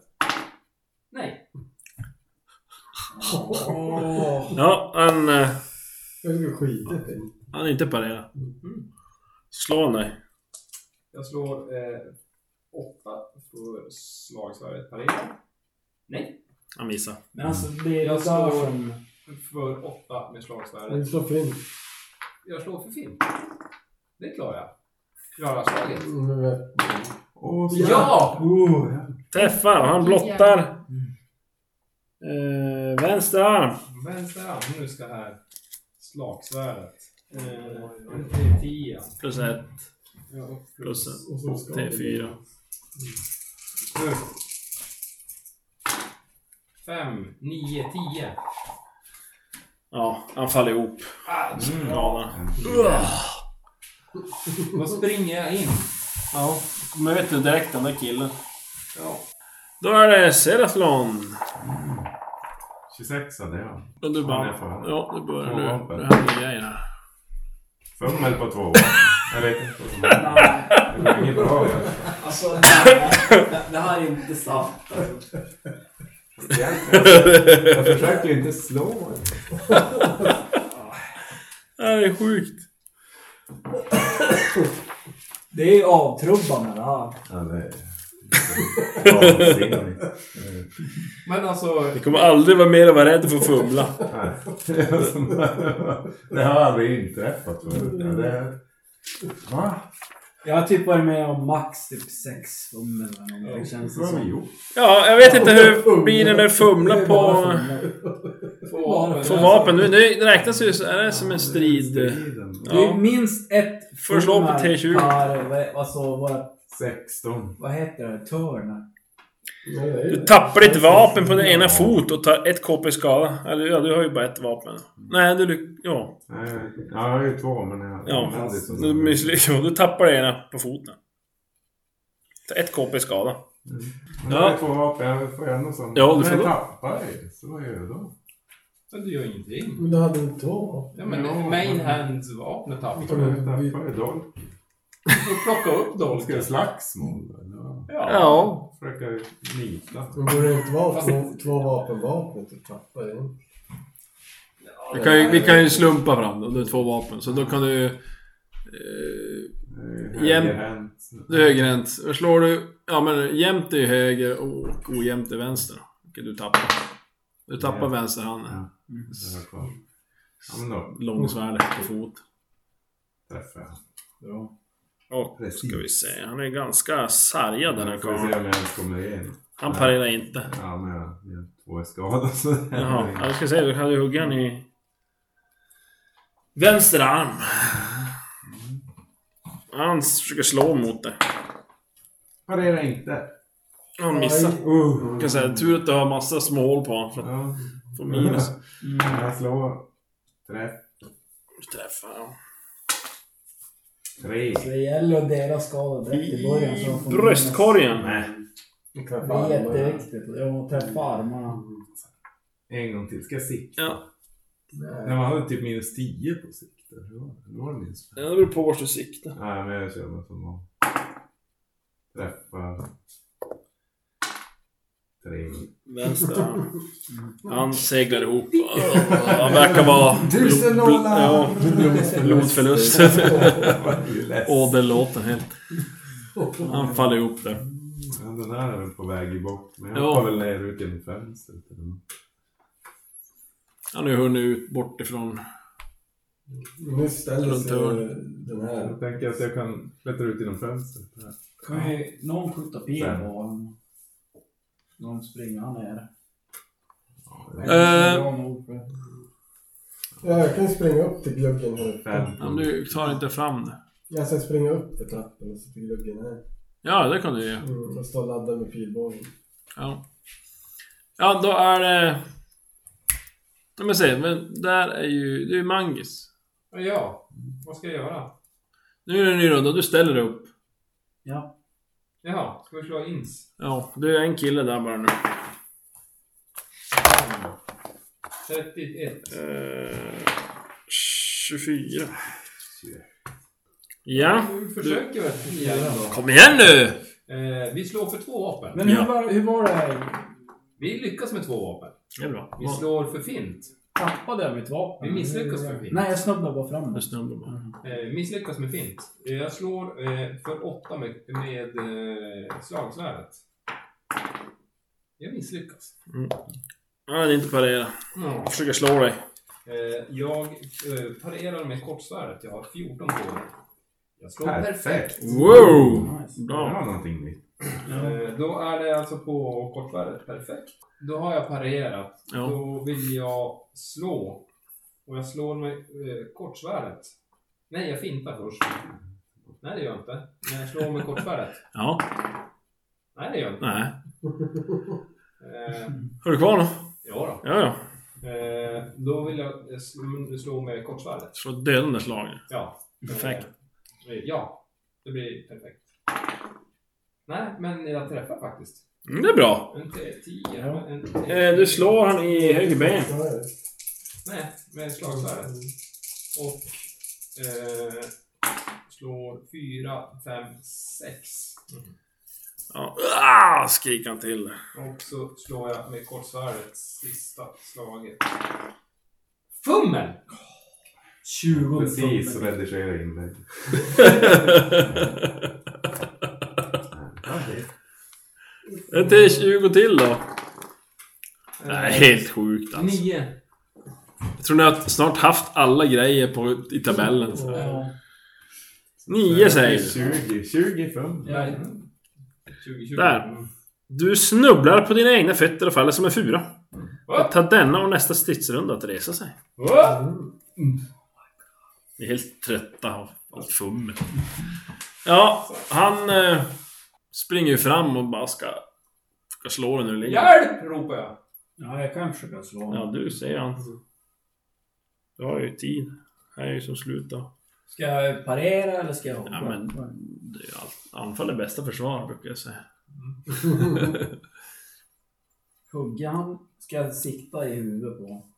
C: Nej.
F: Åh,
B: Ja, han... eh,
F: jag skulle skita i det.
B: Han är inte parerad. Slå han dig.
C: Jag slår eh, åtta för slagsvärdet parera. Nej.
B: Han missar.
G: Men alltså det är
C: Jag
G: jag
C: slår-
G: där som...
C: För åtta med
F: Men
C: slagsvärdet.
F: så fint.
C: Jag slår för fint. Det klarar jag. Klarar slaget.
F: Mm, men-
D: Och så.
C: Ja!
D: Oh, ja.
B: Träffar och han blottar. Eh, vänster arm.
C: Vänster arm, nu ska här. Slagsvärdet. Eh, en T10.
B: Plus ett.
C: Ja, och
B: Plus en.
F: Och så ska
B: T4.
C: Nu. Fem, nio, tio.
B: Ja, han faller ihop. Galen.
C: Då springer jag in.
B: Ja, möter direkt den där killen.
C: Ja.
B: Då är det Seraflon.
D: 26 hade jag.
B: Men du
D: Ja, det får
B: bara...
D: han.
B: Ja, du börjar nu.
D: Ja, vapen.
B: Det händer grejer här.
D: Fummel på två vapen. Jag vet inte vad som hände. Det var inget bra.
G: Alltså <laughs> det här, det här är inte sant. Alltså.
D: Jag försökte ju inte slå.
B: Det här är sjukt.
G: Det är ju avtrubbande det här.
D: Ja, det är...
C: Men alltså,
B: Det kommer aldrig vara mer att vara rädd för att fumla.
D: Det har aldrig inträffat förut. Ja, det... Va?
G: Jag har typ varit med om max typ sex fummel eller någonting känns det
D: Vad har vi
G: som.
D: gjort?
B: Ja, jag vet inte hur blir det när du fumlar på...
C: två vapen.
B: På vapen. Nu, nu räknas ju... så- Är det som en strid?
G: Det är
B: Ja.
G: minst ett
B: Får slå på T20.
G: per, vad- alltså vad,
D: 16.
G: vad heter det, turn?
F: Ja, det är
B: Du
F: det.
B: tappar ditt vapen på din ena fot och tar ett KP skada. Eller ja, du har ju bara ett vapen. Nej, du lyck- Ja.
D: Nej, jag vet inte. Ja, jag har ju två men jag...
B: ja.
D: det som-
B: Du, missly- ja, du tappar det ena på foten. Ta ett KP skada.
D: Men jag har ju två vapen. Jag får ju ändå som...
B: Ja, du
D: Men
B: får
D: jag
B: då.
D: tappar ju. Så vad gör jag då?
C: Men du gör ingenting.
F: Men du hade inte två.
C: Ja, men
D: Ja.
C: mainhands-vapnet har vi.
D: Ska
F: men
D: vi tappa
F: Mm, vi-
D: i dolk?
C: Du får plocka upp
D: Ska vi
C: dolken.
D: slagsmål? eller?
C: Ja.
B: Ja.
D: Försöka nita?
F: Men borde det inte vara två, två vapenvapen du tappar in?
B: Vi kan, ju, vi kan ju slumpa fram då. Det är två vapen. Så då kan du... Eh,
D: Eh,
B: Jäm-
D: högerhänt.
B: det är högerhänt. Vad Slår du... Ja men jämnt är ju höger och ojämnt är vänster. Vilket du tappar. Du tappar
D: Ja.
B: vänsterhanden.
D: Ja. Mm. Den har jag kvar. Ja, men då
B: Långsvärdet på fot.
D: träffar jag.
H: Och
D: Precis.
H: ska vi se, han är ganska sargad den här
D: Ska vi se om
H: karln.
D: jag ens kommer igen.
H: Han parerar inte.
D: Ja, men jag, jag två är skadade. Så
H: Jaha, jag ska säga du hade hugga han i... Vänster arm.
D: Mm.
H: Han försöker slå mot dig.
D: Parera inte.
H: Han missar.
D: Uh.
H: Jag kan säga, tur att du har massa små hål på honom för att
D: Ja.
H: få
D: <laughs>
H: minus.
C: Mm.
D: Jag slår. Träff.
H: Du träffar honom.
D: Tre.
E: Så det gäller att dela skadan direkt i början. Så de får
H: I
E: minnas-
H: bröstkorgen.
D: Nej.
E: Det är jätteviktigt. Ja, träffa armarna.
D: En gång till. Ska jag sikta?
H: Ja.
D: Nej, man hade typ minus 10 på sikt. Eller hur var det? Eller var det minus
H: Ja,
D: 5?
H: det beror på vart du siktar.
D: Nej, men jag kör mig som vanligt. Träffa. Tre.
H: Vänster arm.
D: Mm.
H: Han seglar ihop. Han verkar vara...
D: Tusen
H: blod-
D: dollar!
H: Ja,
D: <laughs>
H: blodförlust. Åderlåten helt. Han faller ihop där.
D: Ja, den här är väl på väg bort. Men jag
H: Ja.
D: hoppar väl ner ut genom fönstret. eller nåt.
B: Han har ju hunnit ut bort ifrån...
F: Nu ställer
B: Runt
F: sig
B: hörn.
F: den här.
D: Jag tänker att jag kan klättra ut genom fönstret. här.
E: Kan ju någon skjuta pil
D: Sen.
E: på honom? Någon springer han ner.
B: Eh.
F: Ja, jag kan ju springa upp till gluggen här uppe.
D: Fem.
B: Ja, men du tar inte fram det.
F: Jag ska springa upp för trappen och så till gluggen här.
B: Ja, det kan du ju.
F: Mm, och stå och ladda med pilbågen.
B: Ja. Ja, då är det... Ja, men se, men där är ju... Det är ju Mangis.
C: ja, vad ska jag göra?
B: Nu är det en ny runda, du ställer dig upp.
C: Jaha, ska vi slå ins?
B: Ja, du är en kille där bara nu.
C: 31.
H: Eh, 24.
D: Tjugo.
H: Ja.
C: Vi försöker väl. igen då.
B: Kom igen nu!
C: Eh, vi slår för två vapen.
E: Men hur
B: Ja.
E: var, hur var det? här?
C: Vi lyckas med två vapen.
B: Det är bra.
C: Vi slår för fint.
E: Tappade jag mitt vapen?
C: Vi misslyckas med fint.
E: Nej, jag snubblade bara fram.
B: Nu snubblar man.
C: Eh, misslyckas med fint. Eh, jag slår eh, för åtta med, med eh, slagsvärdet. Jag misslyckas.
H: Han hade inte parerat.
C: Mm.
H: Han försöker slå dig.
C: Eh, jag eh, parerar med kortsvärdet. Jag har 14 på det. Jag slår perfekt.
D: Perfekt!
B: Wow!
E: Nice.
D: Det
B: Bra.
D: var någonting nytt.
C: Eh, då är det alltså på kortvärdet. Perfekt. Då har jag parerat.
B: Ja.
C: Då vill jag slå. Och jag slår med eh, kortsvärdet. Nej, jag fintar först. Nej, det gör jag inte. Men jag slår med kortsvärdet.
B: Ja,
C: Nej, det gör jag inte.
B: nej.
C: Eh,
B: Har du kvar något?
C: ja då.
B: Ja, ja.
C: Eh, då vill jag eh, slå, slå med kortsvärdet.
B: Slå döden den där slagen.
C: Ja.
B: Perfekt.
C: Eh, ja, det blir perfekt. Nej, men jag träffar faktiskt.
B: Mm, det är bra.
C: En t- tio,
E: Ja.
C: en t-
H: Eh, du slår han i höger ben.
F: Ja, ja.
C: Nej, med slagsvärdet. Och eh, slår fyra, fem, sex.
H: Ja. Ah, skriker han till.
C: Mm. Och så slår jag med kortsvärdet sista slaget. Fummel!
E: 20
D: Precis,
E: tummar.
D: redigera inlägg. Ja, det-
B: Ett till 20 till då. Det här är helt sjukt alltså.
C: Nio.
B: Jag tror ni har snart haft alla grejer på, i tabellen.
E: Ja.
B: Nio säger du.
D: 20, 25.
E: Ja.
C: Tjugo, tjugo.
B: Där. Du snubblar på dina egna fötter och faller som en fura.
C: Va?
B: Ta denna och nästa stridsrunda att resa sig.
C: Va?
B: Ni är helt trötta av allt fummel. Ja, han eh, springer ju fram och bara ska, ska slå den när du ligger.
C: Hjälp! ropar jag.
E: ja, jag kan försöka slå honom.
B: Ja, du ser han. Du har ju tid. Det här är ju som slut då.
E: Ska jag parera eller ska jag hoppa?
B: Ja, men det är ju allt. Anfall är bästa försvar brukar jag säga.
E: Hugga han? Ska jag sikta i huvudet på honom?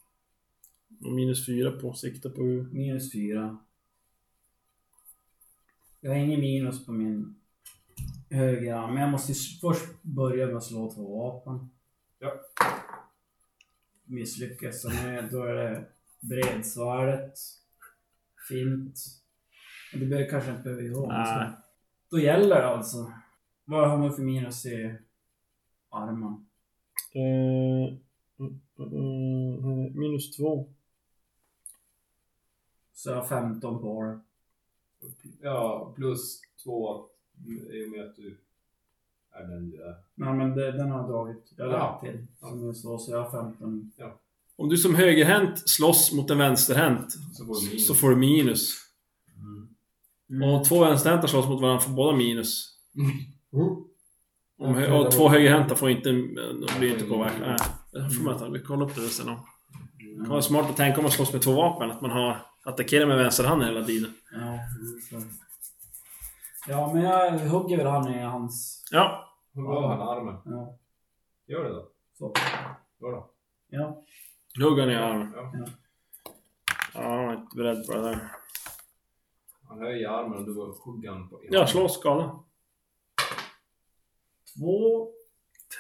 B: Och minus fyra på sikta på...
E: Minus fyra. Jag har ingen minus på min högra arm, men jag måste s- först börja med att slå två vapen.
C: Ja.
E: Misslyckas jag med, då är det bredsvärdet. Fint. Men Det behöver kanske inte behöver ihåg.
B: Nej.
E: Då gäller det alltså. Vad har man för minus i armen?
B: Eh, eh, eh, minus två.
E: Så jag har 15 på det.
C: Ja, plus två mm, i och med att du är den du är.
E: Nej men det, den har jag dragit. Jag har
C: Ja.
E: lagt till. Som jag slår, så jag har 15.
B: Om du som högerhänt slåss mot en vänsterhänt
C: Så får du minus.
B: så får du minus.
E: Mm.
B: Och om två vänsterhänta slåss mot varandra får båda minus.
F: Mm.
B: Om, hö- och två högerhänta får inte... De blir inte påverkade. Nej, det får man ta. Vi kollar upp det sen. då. Det kan vara smart att tänka om man slåss med två vapen. Att man har attackerar med vänsterhanden hela tiden.
E: Ja, just det. ja, men jag hugger väl han i hans...
B: Ja.
C: Hur var han armen?
E: Ja,
C: Gör det då.
E: så.
C: Gör då.
E: Ja.
B: Hugger ner armen.
C: Ja.
B: Ja, jag är inte beredd på det där.
C: Han höjer armen och du går huggan på
B: Ja, slå skada.
E: Två,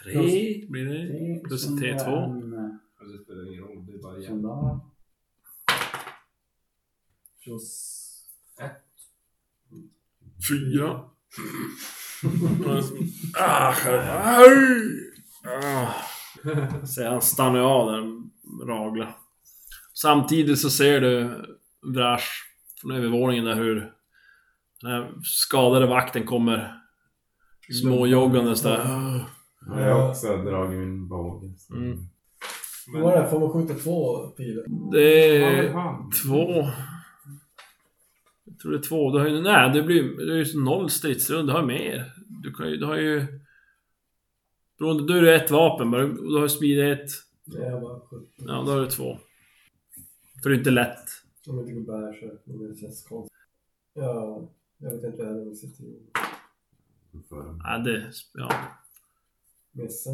B: Tre blir det.
E: tre...
B: Plus
E: sen
B: T2.
E: var en, eh,
C: Alltså, Det spelar ingen roll, det är bara
E: Sån
C: jävla...
E: där. Plus... Ett.
I: Fyra. ah, aj.
B: Ah. Så han stannar ju av där, Ragla. Samtidigt så ser du Vrash från övervåningen där hur den här skadade vakten kommer småjoggandes där.
D: Ja, Jag har också dragit min båge. så-
B: Mm.
F: Vad var det? Får man skjuta två pilar?
B: Det
D: Ja, men
B: är
D: han.
B: Eh, två... Jag tror det är två. Du har ju, nej, det blir det är ju noll stridsrund. Du har mer. Du, kan ju, du har ju... Beroende, du är det ett vapen bara. Du har ju smidighet.
F: Nej, jag bara skjuter.
B: Ja, då har du två. För det är inte lätt.
F: Om det inte går bär så men det känns konstigt. Ja, jag vet inte heller om det sitter i.
D: För
B: Ja, det... Ja.
F: Missar.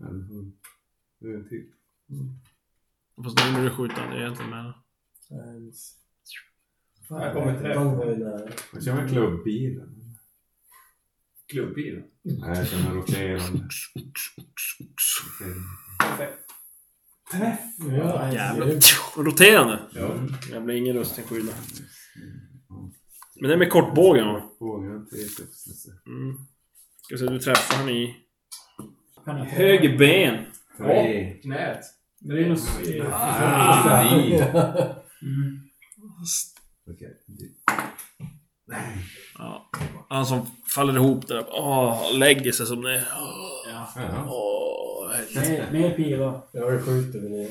D: en hund. Nu är en till.
B: Fast nu vill du skjuta han egentligen med den.
F: Nej, jag missar.
C: Här kommer
F: de
C: träff.
F: var ju nära.
D: Jag känner klubbbilen.
C: Klubbbil.
D: Nej, jag känner roterande. Roterande.
F: Träff! Ja,
B: Jävlar.
F: det är-
B: Roterande!
C: Ja.
B: Jag blir ingen rusting skydda. Men det är med kortbågen va?
D: Bågen har tre sexlöser.
B: Mm. Ska se, du träffar han i...
E: Penetrera.
B: Höger ben!
D: Tre.
C: Knät.
E: Det är nog så-
D: Ah, fyra.
E: Mm.
D: Okej.
B: Ja. Han som faller ihop där. Åh, lägger sig som det. Åh,
D: Ja.
B: åh.
E: Mer- Mer pilar.
F: Ja, det skjuter vi ner.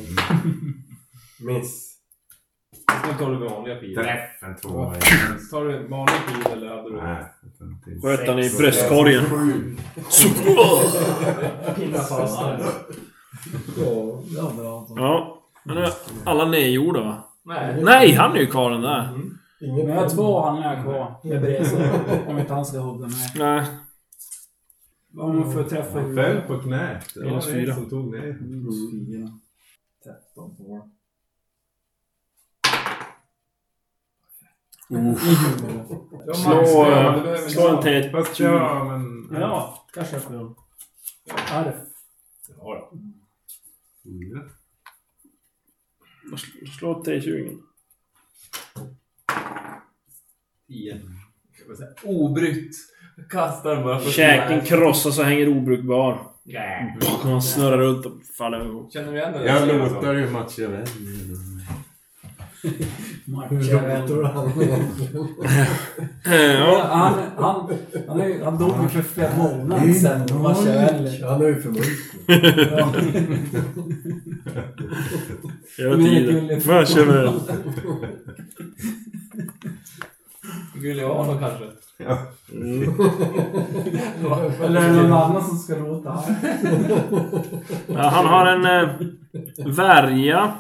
F: Miss.
C: Sen tar du vanliga pilar.
D: Träff en tvåa.
C: Tar du vanliga pil eller hade du...
D: Nej, utan till
B: Sköt han i
D: sex.
B: bröstkorgen. Så- åh.
F: Pinnar fast Ja,
E: Ja, bra. Anton.
B: Ja. Men nu är alla nedgjorda va?
C: Nej.
B: Nej, han är ju kvar den där.
F: inget
E: Men jag har två handlingar kvar med bredsvärdet. Om inte han ska hugga mig.
B: Nej.
E: Vad har man för träffar
D: Han föll på knät. Det
B: Minus
D: var det
B: fyra.
D: som tog ner.
E: Minus fyra. 13 på det. Mm.
C: Du har
B: Slå,
C: maxström, du
B: eh,
C: behöver
B: Slå en
C: inte-
B: till.
D: Fast ja, men...
E: Ja, kanske jag får göra. Arf.
C: Ja, då.
D: Fyra.
B: Slå T20.
C: Tio. Jag vill säga, Obrytt. Kastar den bara för
B: Käken krossas och hänger obrukbar.
C: Nej.
B: Och han snurrar runt och faller ihop.
C: Känner du igen den?
D: Jag lotar ju Machiavelli.
F: Lotor
E: Markjävel.
F: han
B: Eh, Ja.
E: Han, han, han, är ju- han dog ju för flera
F: <laughs> Mm.
E: månader sedan. Markjävel.
F: Han är ju för mörk.
E: Ja.
B: Hela
E: Men det är
B: tiden.
E: gulligt.
B: Machiavelli.
C: Gugliano kanske?
E: Mm. Eller är det någon annan som ska låta här?
B: Ja, han har en eh, värja.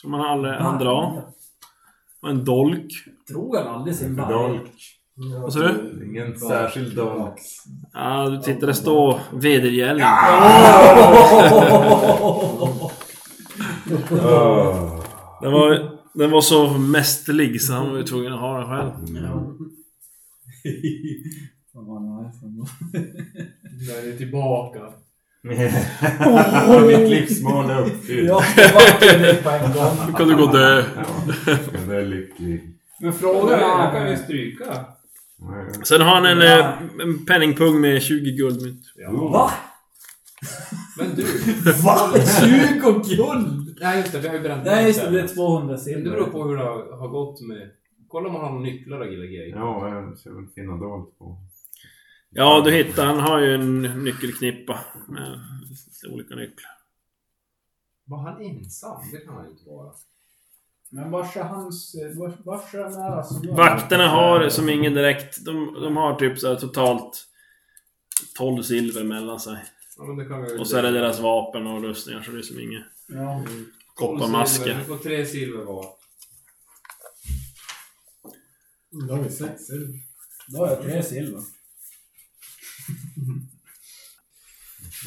B: Som han aldrig hann dra. Och en dolk.
E: Drog han aldrig sin bark?
D: Dolk.
B: Vad sa du?
D: Ingen särskild dolk.
B: Ja, du tittar det står vedergällning.
D: Ah.
B: Den var, den var så mästerlig så han var ju tvungen att ha den själv.
E: Ja.
J: Vad var den här från då?
C: När ni är tillbaka.
D: Mitt livs mål är uppfyllt.
J: Ja, det var det på en gång.
B: Nu kan du gå och dö.
D: Ja. Jag är lycklig.
C: Men frågan är, han kan ju stryka.
D: Nej.
B: Sen har han en, eh, en penningpung med 20 guldmynt.
J: Va?
C: Men du!
J: Va? 20 guld?
C: Nej just det, vi har ju bränt
J: Nej,
C: den
J: just det.
C: sen.
J: Det är 200
C: Men det
J: silver.
C: beror på hur det har har gått med... Kolla om han har nycklar och gillar grejer.
D: Ja, jag ser väl finna dolt på.
B: Ja, du hittar. Han har ju en nyckelknippa med olika nycklar.
C: Var han ensam? Det kan han ju inte vara.
J: Men vars är hans... eh, vars- Vars är den här alltså?
B: Vakterna har som ingen direkt... De, de har typ så här totalt 12 silver mellan sig.
C: Ja, men det kan vi
B: Och så är det deras vapen och rustningar så det är som inget...
J: Ja.
B: kopparmasker.
C: Du får tre silver var.
F: Då har vi sex silver.
J: Då har jag tre silver.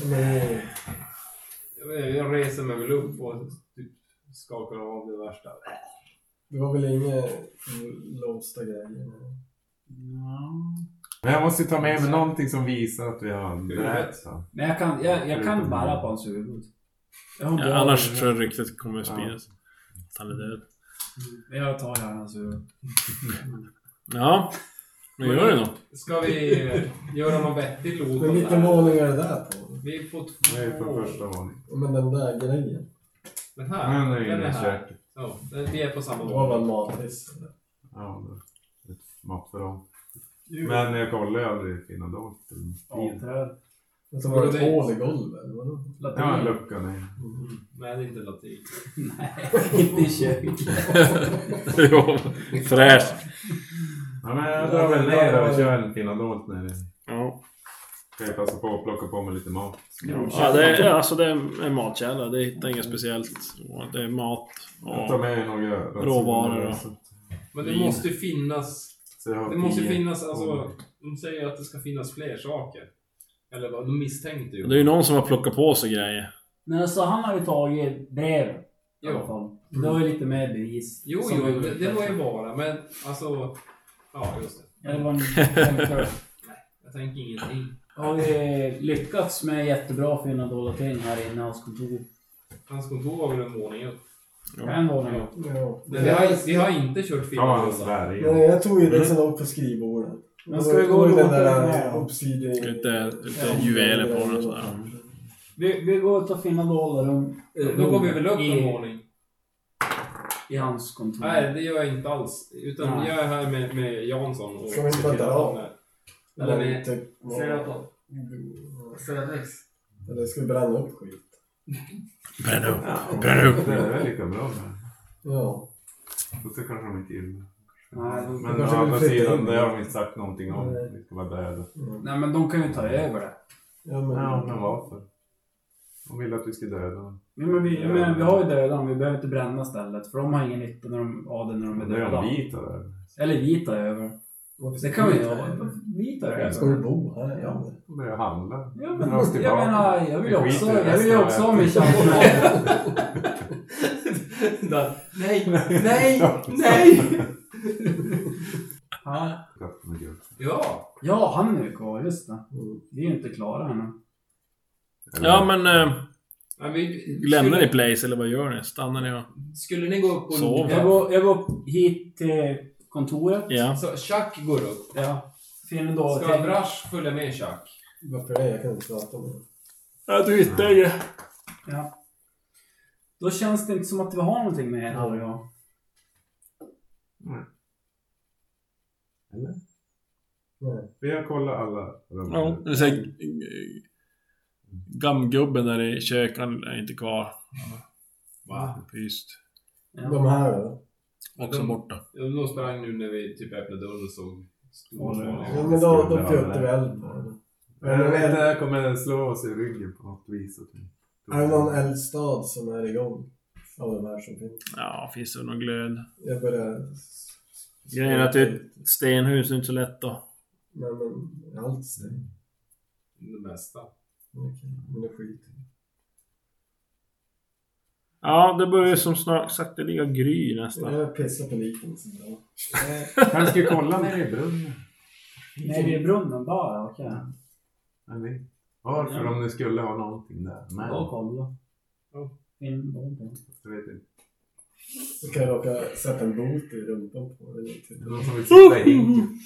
F: Men,
C: Jag, vet, jag reser mig väl upp och typ skakar av det värsta.
F: det var väl inga låsta grejer?
D: Men jag måste ju ta med mig någonting som visar att vi har berättat.
J: Men jag kan, jag, jag kan bära på hans huvud. Jag har en
B: Ja,
J: bra
B: annars
J: huvud.
B: tror jag ryktet kommer att spridas. Att han är död.
J: Men Jag tar gärna hans huvud.
B: Ja. Nu gör <laughs> det något.
C: Ska vi eh, göra någon vettig loot
F: Men
C: av det
F: vilken
C: här?
F: våning är det där på?
C: Vi får
D: Det är på
C: två.
D: första våningen.
F: Men den där grejen.
C: Den här?
D: Men det är
C: den
D: inne
C: är
D: i
C: här.
D: köket.
C: Ja, den- vi är på samma
F: Det var väl
C: våning.
F: en matris?
D: Ja, det är ett matförråd. Men jag kollar ju aldrig finna dolt.
E: Avträd.
F: Men så var det ett hål i golvet? eller vadå?
D: Ja, en lucka ner.
C: Nej, det är inte latin.
J: Inte i köket.
B: Jo, Fräscht.
D: Ja, men jag drar väl ner och kör en finadolt när det
B: Ja.
D: kan jag passa på att plocka på mig lite mat.
B: Ja, det är, alltså det är en matkälla. Det hittar inget speciellt. Och Det är mat
D: Jag tar
B: och...
D: med några rationer
B: Råvaror då.
D: Så, att-
C: Men det måste ju finnas
D: så jag har
C: Det måste ju
D: tio.
C: finnas, alltså, de säger ju att det ska finnas fler saker. Eller vad, de misstänkte ju.
B: Det är ju någon som har plockat på sig grejer.
E: Men alltså han har ju tagit brev. I alla
C: Jo,
E: fall. Det var ju lite mer bevis.
C: jo,
E: Som
C: jo
E: vi-
C: det, det må ju vara, men alltså... Ja, just det.
E: Ja, det var en, en curve.
C: Jag tänker ingenting.
E: Har vi lyckats med jättebra fina dolda ting här inne i hans kontor?
C: Hans kontor var väl en våning upp.
E: En våning upp.
F: Ja.
C: Men vi har, vi har inte kört film. alltså.
D: Ja, han svär
F: Nej,
D: igen.
F: jag tog ju det som låg på skrivbordet.
E: Mm. Men ska vi gå och
F: den
E: låta den
F: där
E: här?
F: obsidian...
B: Lite, lite juveler på den och sådär.
E: Vi, vi går ut och finner dolda rum.
C: Då går vi väl upp en
E: i,
C: våning?
E: i hans kontor.
C: Nej, det gör jag inte alls. Utan
E: Nej.
C: jag är här med, med Jansson. Och
F: Ska vi inte vänta då?
C: Eller
F: Eller
C: med
F: typ...
C: Seraton. Cedrix.
F: Eller ska vi bränna upp skit?
B: Bränn upp.
D: Ja,
B: Bränn upp.
D: Det är lika bra.
F: Ja.
D: Fast det kanske de inte gillar.
E: Nej, de,
D: Men å
F: kanske vill
D: andra
F: flytta
D: sidan,
F: in.
D: det har de inte sagt någonting om.
F: Nej.
D: Vi ska vara döda.
E: nej, men de kan ju ta över det.
F: Ja, men...
D: Ja, men varför? De vill att vi ska döda dem.
E: Ja, men, vi, men vi har ju döda dem, vi behöver inte bränna stället. För de har ingen nytta när de, av det när de är
D: Men det är
E: döda.
D: de vi tar över.
E: Eller vi tar över. Det kan vi göra. Vi tar
F: Ska
E: över.
F: du bo här? Ja.
D: De börjar handla.
E: Ja,
D: Dra oss
E: men, jag
D: tillbaka.
E: menar, jag vill
D: Vi
E: ju också,
D: skiter i
E: jag vill ju
D: resten av
E: också ha
D: världen. <laughs>
E: min chans med.
C: Nej,
E: Nej,
C: nej!
E: Ja.
D: Katten och gurkan.
C: Ja!
E: Ja, han är ju kvar, just det. Vi är ju inte klara ännu.
D: Eller-
B: Ja men... eh,
C: Nej, vi,
B: Lämnar ni
C: skulle,
B: place eller vad gör ni? Stannar ni och...
C: skulle ni gå upp och
B: Sov.
E: Jag går, jag går hit till kontoret.
B: Ja.
C: Så Alltså, Chuck går upp.
E: Ja. Finner då...
C: Ska Brash följa med Chuck?
F: Varför det? Jag kan inte prata med dig.
B: Ja, du hittar ju.
E: Ja. Då känns det inte som att vi har någonting med här och jag.
D: Vi har kollat alla rum.
B: Ja, det är så här, eh, Gammgubben där i köket han är inte kvar.
C: Va?
B: Pyst.
E: Ja.
F: De här då?
B: Också borta.
C: De sprang nu när vi typ öppnade dörren och såg
F: Ja,
D: Ja,
C: stor
F: men då, då
D: skulle
F: pjötte
D: jag
F: vi eld på dem.
D: Men jag vet inte, det här kommer slå oss i ryggen på något vis. att vi-
F: Är det någon eldstad som är igång? Av de här som finns.
B: Ja, finns det någon glöd?
F: Jag börjar...
B: Grejen är att det är ett stenhus, det är inte så lätt då.
F: Nej men, allt stängt.
C: Det mesta.
F: Okej, men det skiter jag i.
B: Ja, det börjar ju som snart sagt ligga gry nästan.
F: Jag pissar på liken. så bra.
D: Han ska ju kolla när det är brunnen.
E: Nej, det är brunnen bara. Okej.
D: Eller? Varför om det skulle ha någonting där. Men
E: Då kolla. In, in,
D: jag vet inte.
F: Så kan jag råka sätta en bot i rumpan på dig.
D: Det är någon som vill sitta i hinken.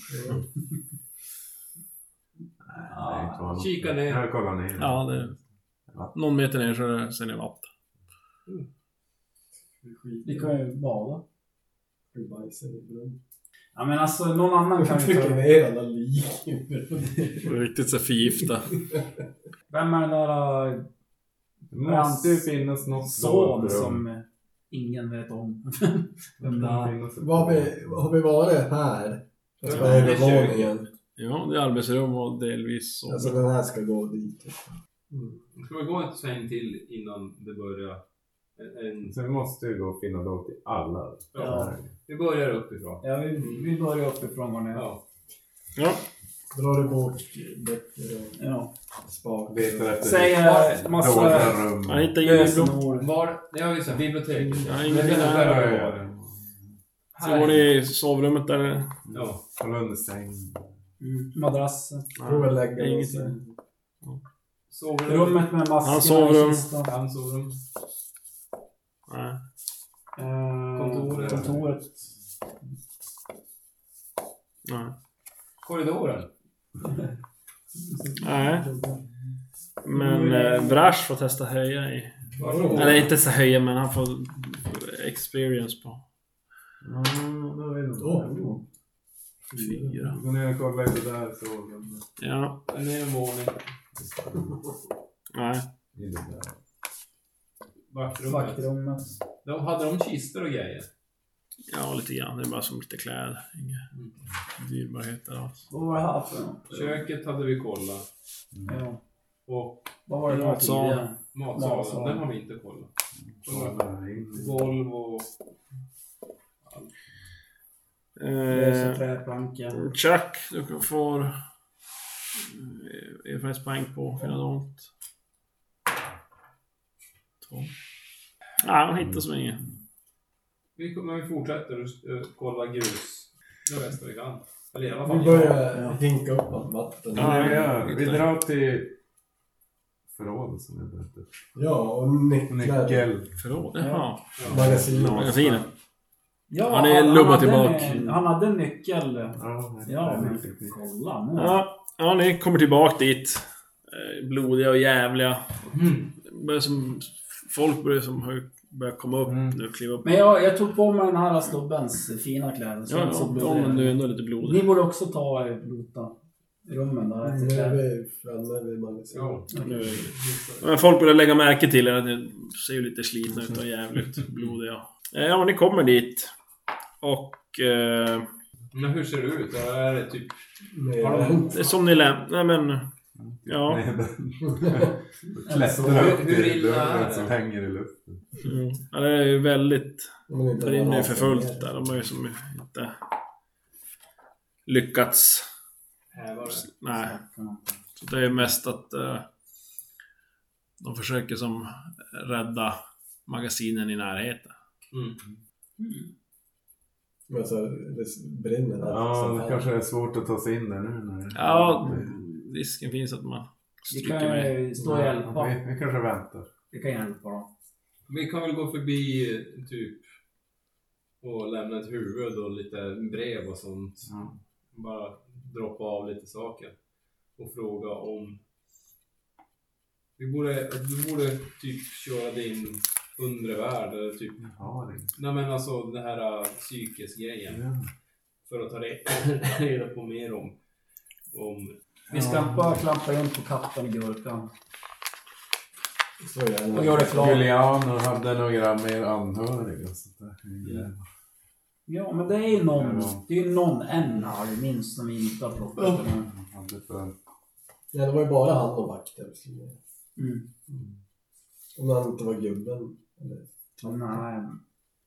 D: Nej, det är inte vad-
C: Kika ner.
D: Jag kollar ner.
B: Ja, det är... Någon meter ner så är det, sen är det vatten.
E: Vi kan ju bada.
F: Du bajsar i brunnen.
E: Ja, men alltså någon annan kan <laughs>
F: Jag
E: vi
F: trycker
E: ta.
F: ner alla lik i brunnen.
B: Det är Riktigt så här förgifta.
E: Vem är den där äh,
D: Det måste ju finnas något
E: son
D: dolt rum.
E: som äh, ingen vet om? <laughs> Vem
D: Det
E: det är?
D: finnas ett-
F: Vad har vi, vad har vi varit här? Fast på
C: Ja, det är
F: övervåningen.
B: Ja, det är arbetsrum och delvis så.
F: Alltså den här ska gå dit.
C: Ska vi gå ett sväng till innan det börjar? En, en,
D: Så vi måste ju gå och finna dolt i alla.
E: Ja.
C: vi börjar uppifrån.
E: Ja, vi, vi börjar uppifrån går ner.
C: Ja.
B: Ja,
F: Drar du bort böcker
E: Ja.
F: och spakar.
D: Letar efter
E: Säg äh, massa
D: dåliga rum.
B: jag hittar ingen blå...
E: lösenord.
C: Var? Det har vi sett. Biblioteket.
B: Ja,
C: Men
B: ingenting
C: det
B: där.
D: Ja,
C: där.
D: ja, ja.
B: Sen går ni i sovrummet där.
C: Ja.
D: Kolla under sängen.
E: Madrass.
F: Prova att lägga
B: Inget.
F: oss. i-
C: Sovrum.
E: Rummet med
B: Hans
E: maskerna
B: sovrum.
E: i kistan.
C: Hans sovrum.
B: Nej.
E: Eh,
C: Kontoret.
E: Kontoret.
B: Nej.
C: Korridoren.
B: Nej. Men eh, Brash får testa höja i.
C: Varsågod.
B: Eller inte så höja, men han får experience på.
D: Mm, då vet jag inte.
F: Åh.
B: Fyra.
D: Gå ner och kolla i det där sovrummet.
B: Ja,
C: Den är en våning.
B: nej.
D: I det där.
C: Vaktrummet.
E: Vaktrummet.
C: De hade de kistor och grejer?
B: Ja, lite grann. Det är bara som lite kläder. Inga dyrbarheter alls.
E: Vad var det här för något?
C: Köket hade vi kollat.
E: Ja.
C: Och
E: Vad var det här
B: Matsalen.
E: tidigare?
C: matsalen.
E: Matsalen.
C: Den har vi inte kollat. Mm.
D: Kolla där in.
C: Golv och...
E: Lösa
B: Eh,
E: träplanka.
B: Chuck, du kan- får eh, erfarenhetspoäng på finadont. Två. Nej, han hittar som inget.
C: Vi, kommer- vi fortsätter att eh, kolla grus. Det bästa vi kan. Eller i alla fall
F: Vi
C: jag.
F: börjar hinka upp allt vatten.
B: Ja.
D: Vi gör- Vi drar till förrådet som jag berättade.
F: Ja, och nycklar.
D: Nyckel.
B: Förråd? Jaha.
F: Magasin.
B: Magasinet.
E: Ja,
B: Han är lubba
E: hade
B: tillbaka.
E: en- Han hade en nyckel.
D: Ja,
E: Ja, men
D: nyckelkniv.
E: kolla nu.
B: Ja, ja, ni kommer tillbaka dit. Eh, Blodiga och jävliga.
C: Mm.
B: Börjar som, folk börjar som har- börjar komma upp
D: Mm.
B: nu, kliva upp.
E: Men jag, jag tog på mig den här snubbens fina kläder. Så
B: Ja, ja,
E: så blev
B: ja,
E: det-
B: men du är ändå lite blodig.
E: Ni borde också ta och lota rummen där.
F: Nu
E: efter
F: är
E: kläder.
F: vi framme vid magasinet.
C: Ja.
B: Nu är det- Men folk börjar lägga märke till er att ni ser ju lite slitna ut och jävligt
E: Mm.
B: blodiga. Eh, Ja, men ni kommer dit. Och... Eh,
C: Men hur ser det ut? Är det typ... Har de-
F: Med
B: det är som ni lämnar... Nej men... Ja.
D: Nej, den- Klättra upp
C: Hur
D: till
C: illa är
D: dörren
C: det?
D: som hänger i luften.
B: Mm. ja, det är ju väldigt...
F: Om det inte
B: Det rinner ju
F: var
B: för fullt där. De har ju som inte lyckats.
C: Hävare.
B: Nej. Så det är mest att eh, de försöker som rädda magasinen i närheten.
C: Mm.
F: Men så det brinner allt.
D: Ja,
F: sånt
D: det
F: här.
D: kanske är svårt att ta sig in där nu. När det-
B: Ja, risken finns att man
E: Mm. Vi
B: stryker
E: kan
B: med.
E: ju stå och hjälpa.
D: Vi, vi kanske väntar.
E: Vi kan hjälpa dem.
C: Vi kan väl gå förbi eh, typ och lämna ett huvud och lite brev och sånt.
D: Ja.
C: Bara droppa av lite saker och fråga om... Vi borde, du borde typ köra din undre värld eller typ...
D: Jag har inget.
C: Nej men alltså den här psykisgrejen
D: Ja.
C: för att ta re- <laughs> reda på mer om... om
E: Vi ska bara klampa runt på katten i gurkan.
F: Så gärna.
E: Och gör det klart.
D: Julian och hade några mer anhöriga. och sånt där.
E: Ja, men det är ju någon.
D: Ja.
E: Det är ju någon en här minst som vi inte har plockat.
D: Ja, hade för-
F: Ja, det var ju bara han och vakten.
E: Mm.
F: Om han inte var gubben. Eller...
E: Nej,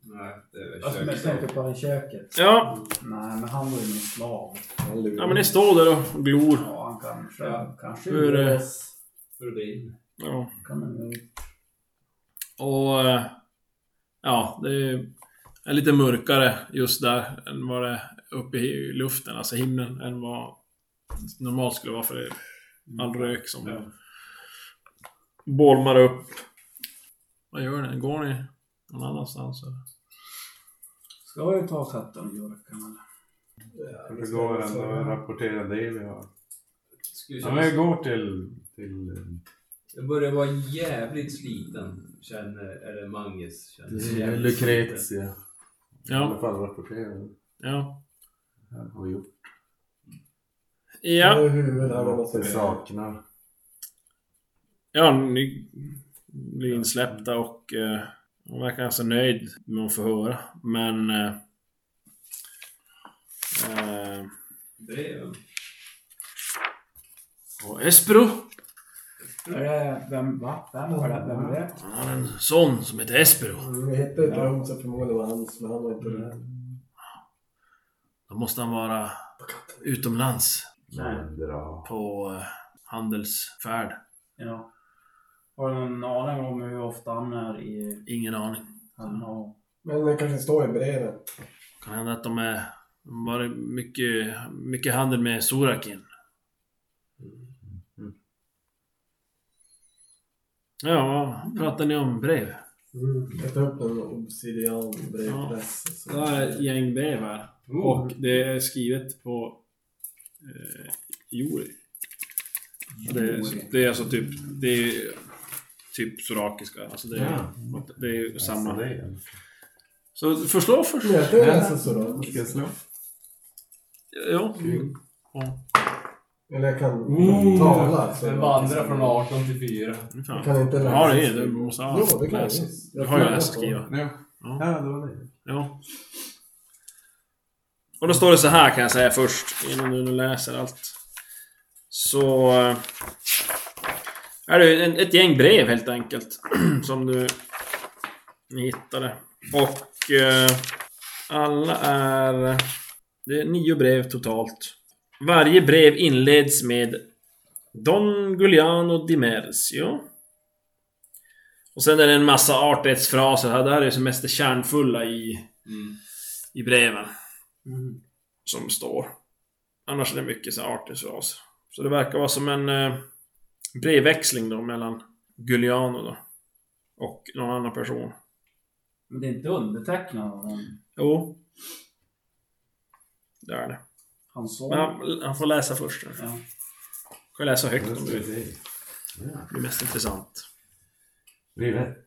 C: nej, det
E: alltså,
C: är
E: jag
C: väl
E: tänker på i köket.
B: Ja,
E: Nej, men han var ju min slav.
F: Han lurade.
B: ja, men ni står där och glor.
E: Ja, han kanske...
C: Ja.
E: Kanske
B: Hur är det?
E: luras.
C: Hur är det in?
B: Ja.
E: Kan han ju-
B: Och eh, Ja, det är, är lite mörkare just där än vad det är uppe i luften, alltså himlen, än vad normalt skulle vara för det är all rök som bolmar upp. Vad gör ni? Går ni någon annanstans? Eller?
G: Ska vi ta katten och Jörkan eller?
D: Det går väl ändå att rapportera det vi har.
C: Skulle
D: Ja,
C: kännas-
D: men jag går till... till eh,
C: Jag börjar vara jävligt sliten. Känner, eller Manges känner jävligt sliten.
D: Lucretia. I alla
B: Ja,
D: fall rapportera.
B: ja.
D: Jag har gjort
B: Ja,
F: Nu är huvudet här med
D: något vi
F: något.
D: saknar.
B: ja ni blir insläppta och eh, hon verkar ganska nöjd med vad hon får höra. Men... Eh, eh,
C: Breven.
B: och Espro
G: Är det, vem, va? Vem var det? Vem var det?
B: Han har en son som heter Espero.
F: Mm, Vi hittade ett rum som förmodligen var hans, men han var
B: Mm.
F: inte där.
B: Då måste han vara utomlands
D: Men bra.
B: på eh, handelsfärd.
E: Ja. Har du någon aning om hur ofta han är i...
B: Ingen aning.
E: Han har...
F: Men det kanske står i brevet.
B: Kan hända att de är... De har varit mycket, mycket handel med Sorakin. Ja, vad pratar ni om brev?
D: Mm.
F: Jag tar upp en obsidian brevpress. och så-
B: Det här är ett gäng brev här. Och det är skrivet på eh, Jori. Det, är- det är alltså typ... Det är typ sorakiska. Alltså det är, det är samma.
D: Det är
B: Så förslå först.
F: Men jag kan läsa så då.
D: Ska jag slå?
B: Ja.
F: Eller jag kan
B: Mm.
C: Ooh.
F: tala. Så
C: Den vandrar från 18 till 4.
F: Jag
B: Fan.
F: kan inte läsa.
B: Ja, det är det. Du måste ha
F: Jo, det kan jag
B: läsa.
F: visst.
B: Du
F: Jag
B: har ju
F: kan
B: läst
F: läsa.
B: och skriva.
D: Ja.
B: Ja.
D: Ja, det var det.
B: Ja. Och då står det så här kan jag säga först, innan du nu läser allt. Så... eh, Är det en, ett gäng brev helt enkelt. <clears throat> som du... Ni hittade. Och... Eh, alla är... Det är nio brev totalt. Varje brev inleds med Don Giuliano di Mercio. Och sen är det en massa artighetsfraser. Det här är som mest det kärnfulla i, i breven. Som står. Annars är det mycket så här artighetsfraser. Så det verkar vara som en eh, brevväxling då mellan Giuliano då. Och någon annan person.
E: Men det är inte undertecknat av någon.
B: Jo. Det är det.
E: Hans son.
B: Men han, han får läsa först. Du
E: Ja.
B: kan läsa högt om
D: Just
B: du vill.
D: det.
B: Det är mest intressant.
D: Rivett.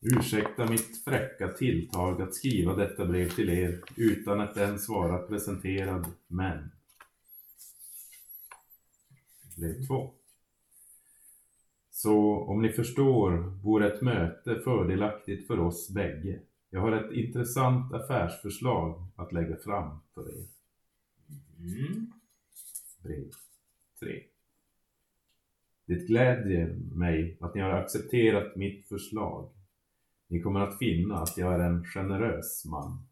D: Ursäkta mitt fräcka tilltag att skriva detta brev till er utan att ens vara presenterad, men... Brev 2. Så om ni förstår vore ett möte fördelaktigt för oss bägge. Jag har ett intressant affärsförslag att lägga fram för er. Brev 3. Det glädjer mig att ni har accepterat mitt förslag. Ni kommer att finna att jag är en generös man.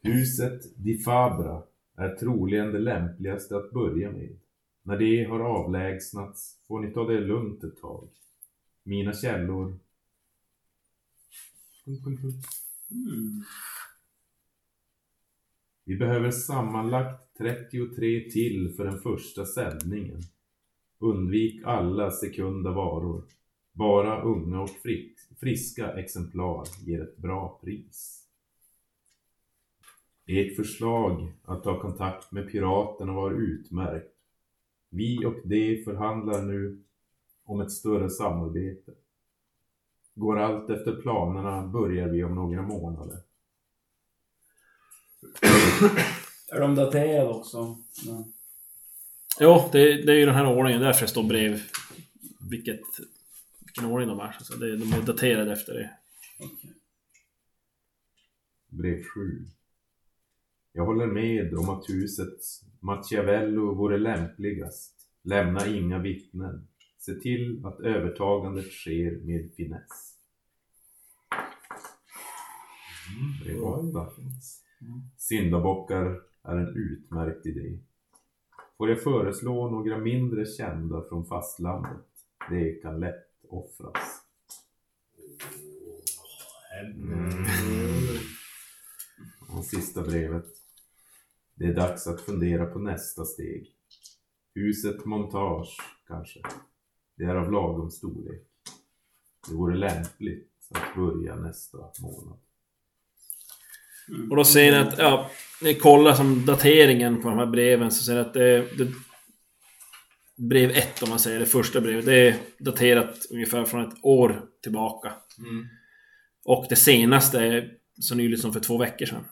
D: Huset Di Fabra är troligen det lämpligaste att börja med. När det har avlägsnats får ni ta det lugnt ett tag. Mina källor... Punkt, punkt, punkt. Vi behöver sammanlagt 33 till för den första sändningen. Undvik alla sekunda varor. Bara unga och fri- friska exemplar ger ett bra pris. Ert förslag att ta kontakt med piraterna var utmärkt. Vi och de förhandlar nu om ett större samarbete. Går allt efter planerna börjar vi om några månader.
E: Är de daterade också? Ja.
B: Jo, det, det är ju den här ordningen. Därför det står brev. Vilket, vilken ordning de är. Så det, de är daterade efter det.
D: brev 7. Jag håller med om att huset Machiavello vore lämpligast. Lämna inga vittnen. Se till att övertagandet sker med finess. Brev 8. Syndabockar är en utmärkt idé. Får jag föreslå några mindre kända från fastlandet? Det kan lätt offras. Mm. Och sista brevet. Det är dags att fundera på nästa steg. Huset Montage, kanske. Det är av lagom storlek. Det vore lämpligt att börja nästa månad.
B: Och då ser ni att, ja, ni kollar som dateringen på de här breven så ser ni att det, det Brev 1 om man säger, det första brevet, det är daterat ungefär från ett år tillbaka. Och det senaste är så nyligt som för två veckor sedan.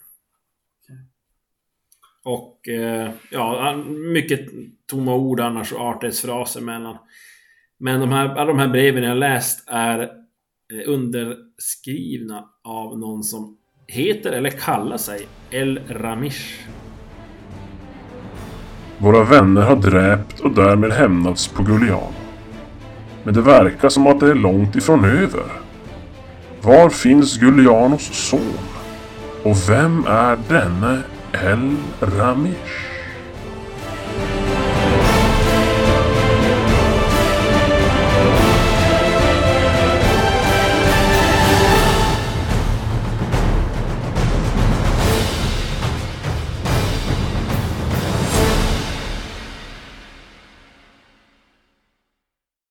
B: Och eh, ja, mycket tomma ord annars och artighetsfraser mellan. Men de här, alla de här breven jag läst är eh, underskrivna av någon som heter eller kallar sig El Ramish.
A: Våra vänner har dräpt och därmed hämnats på Gullian. Men det verkar som att det är långt ifrån över. Var finns Gullianos son? Och vem är denne El Ramish?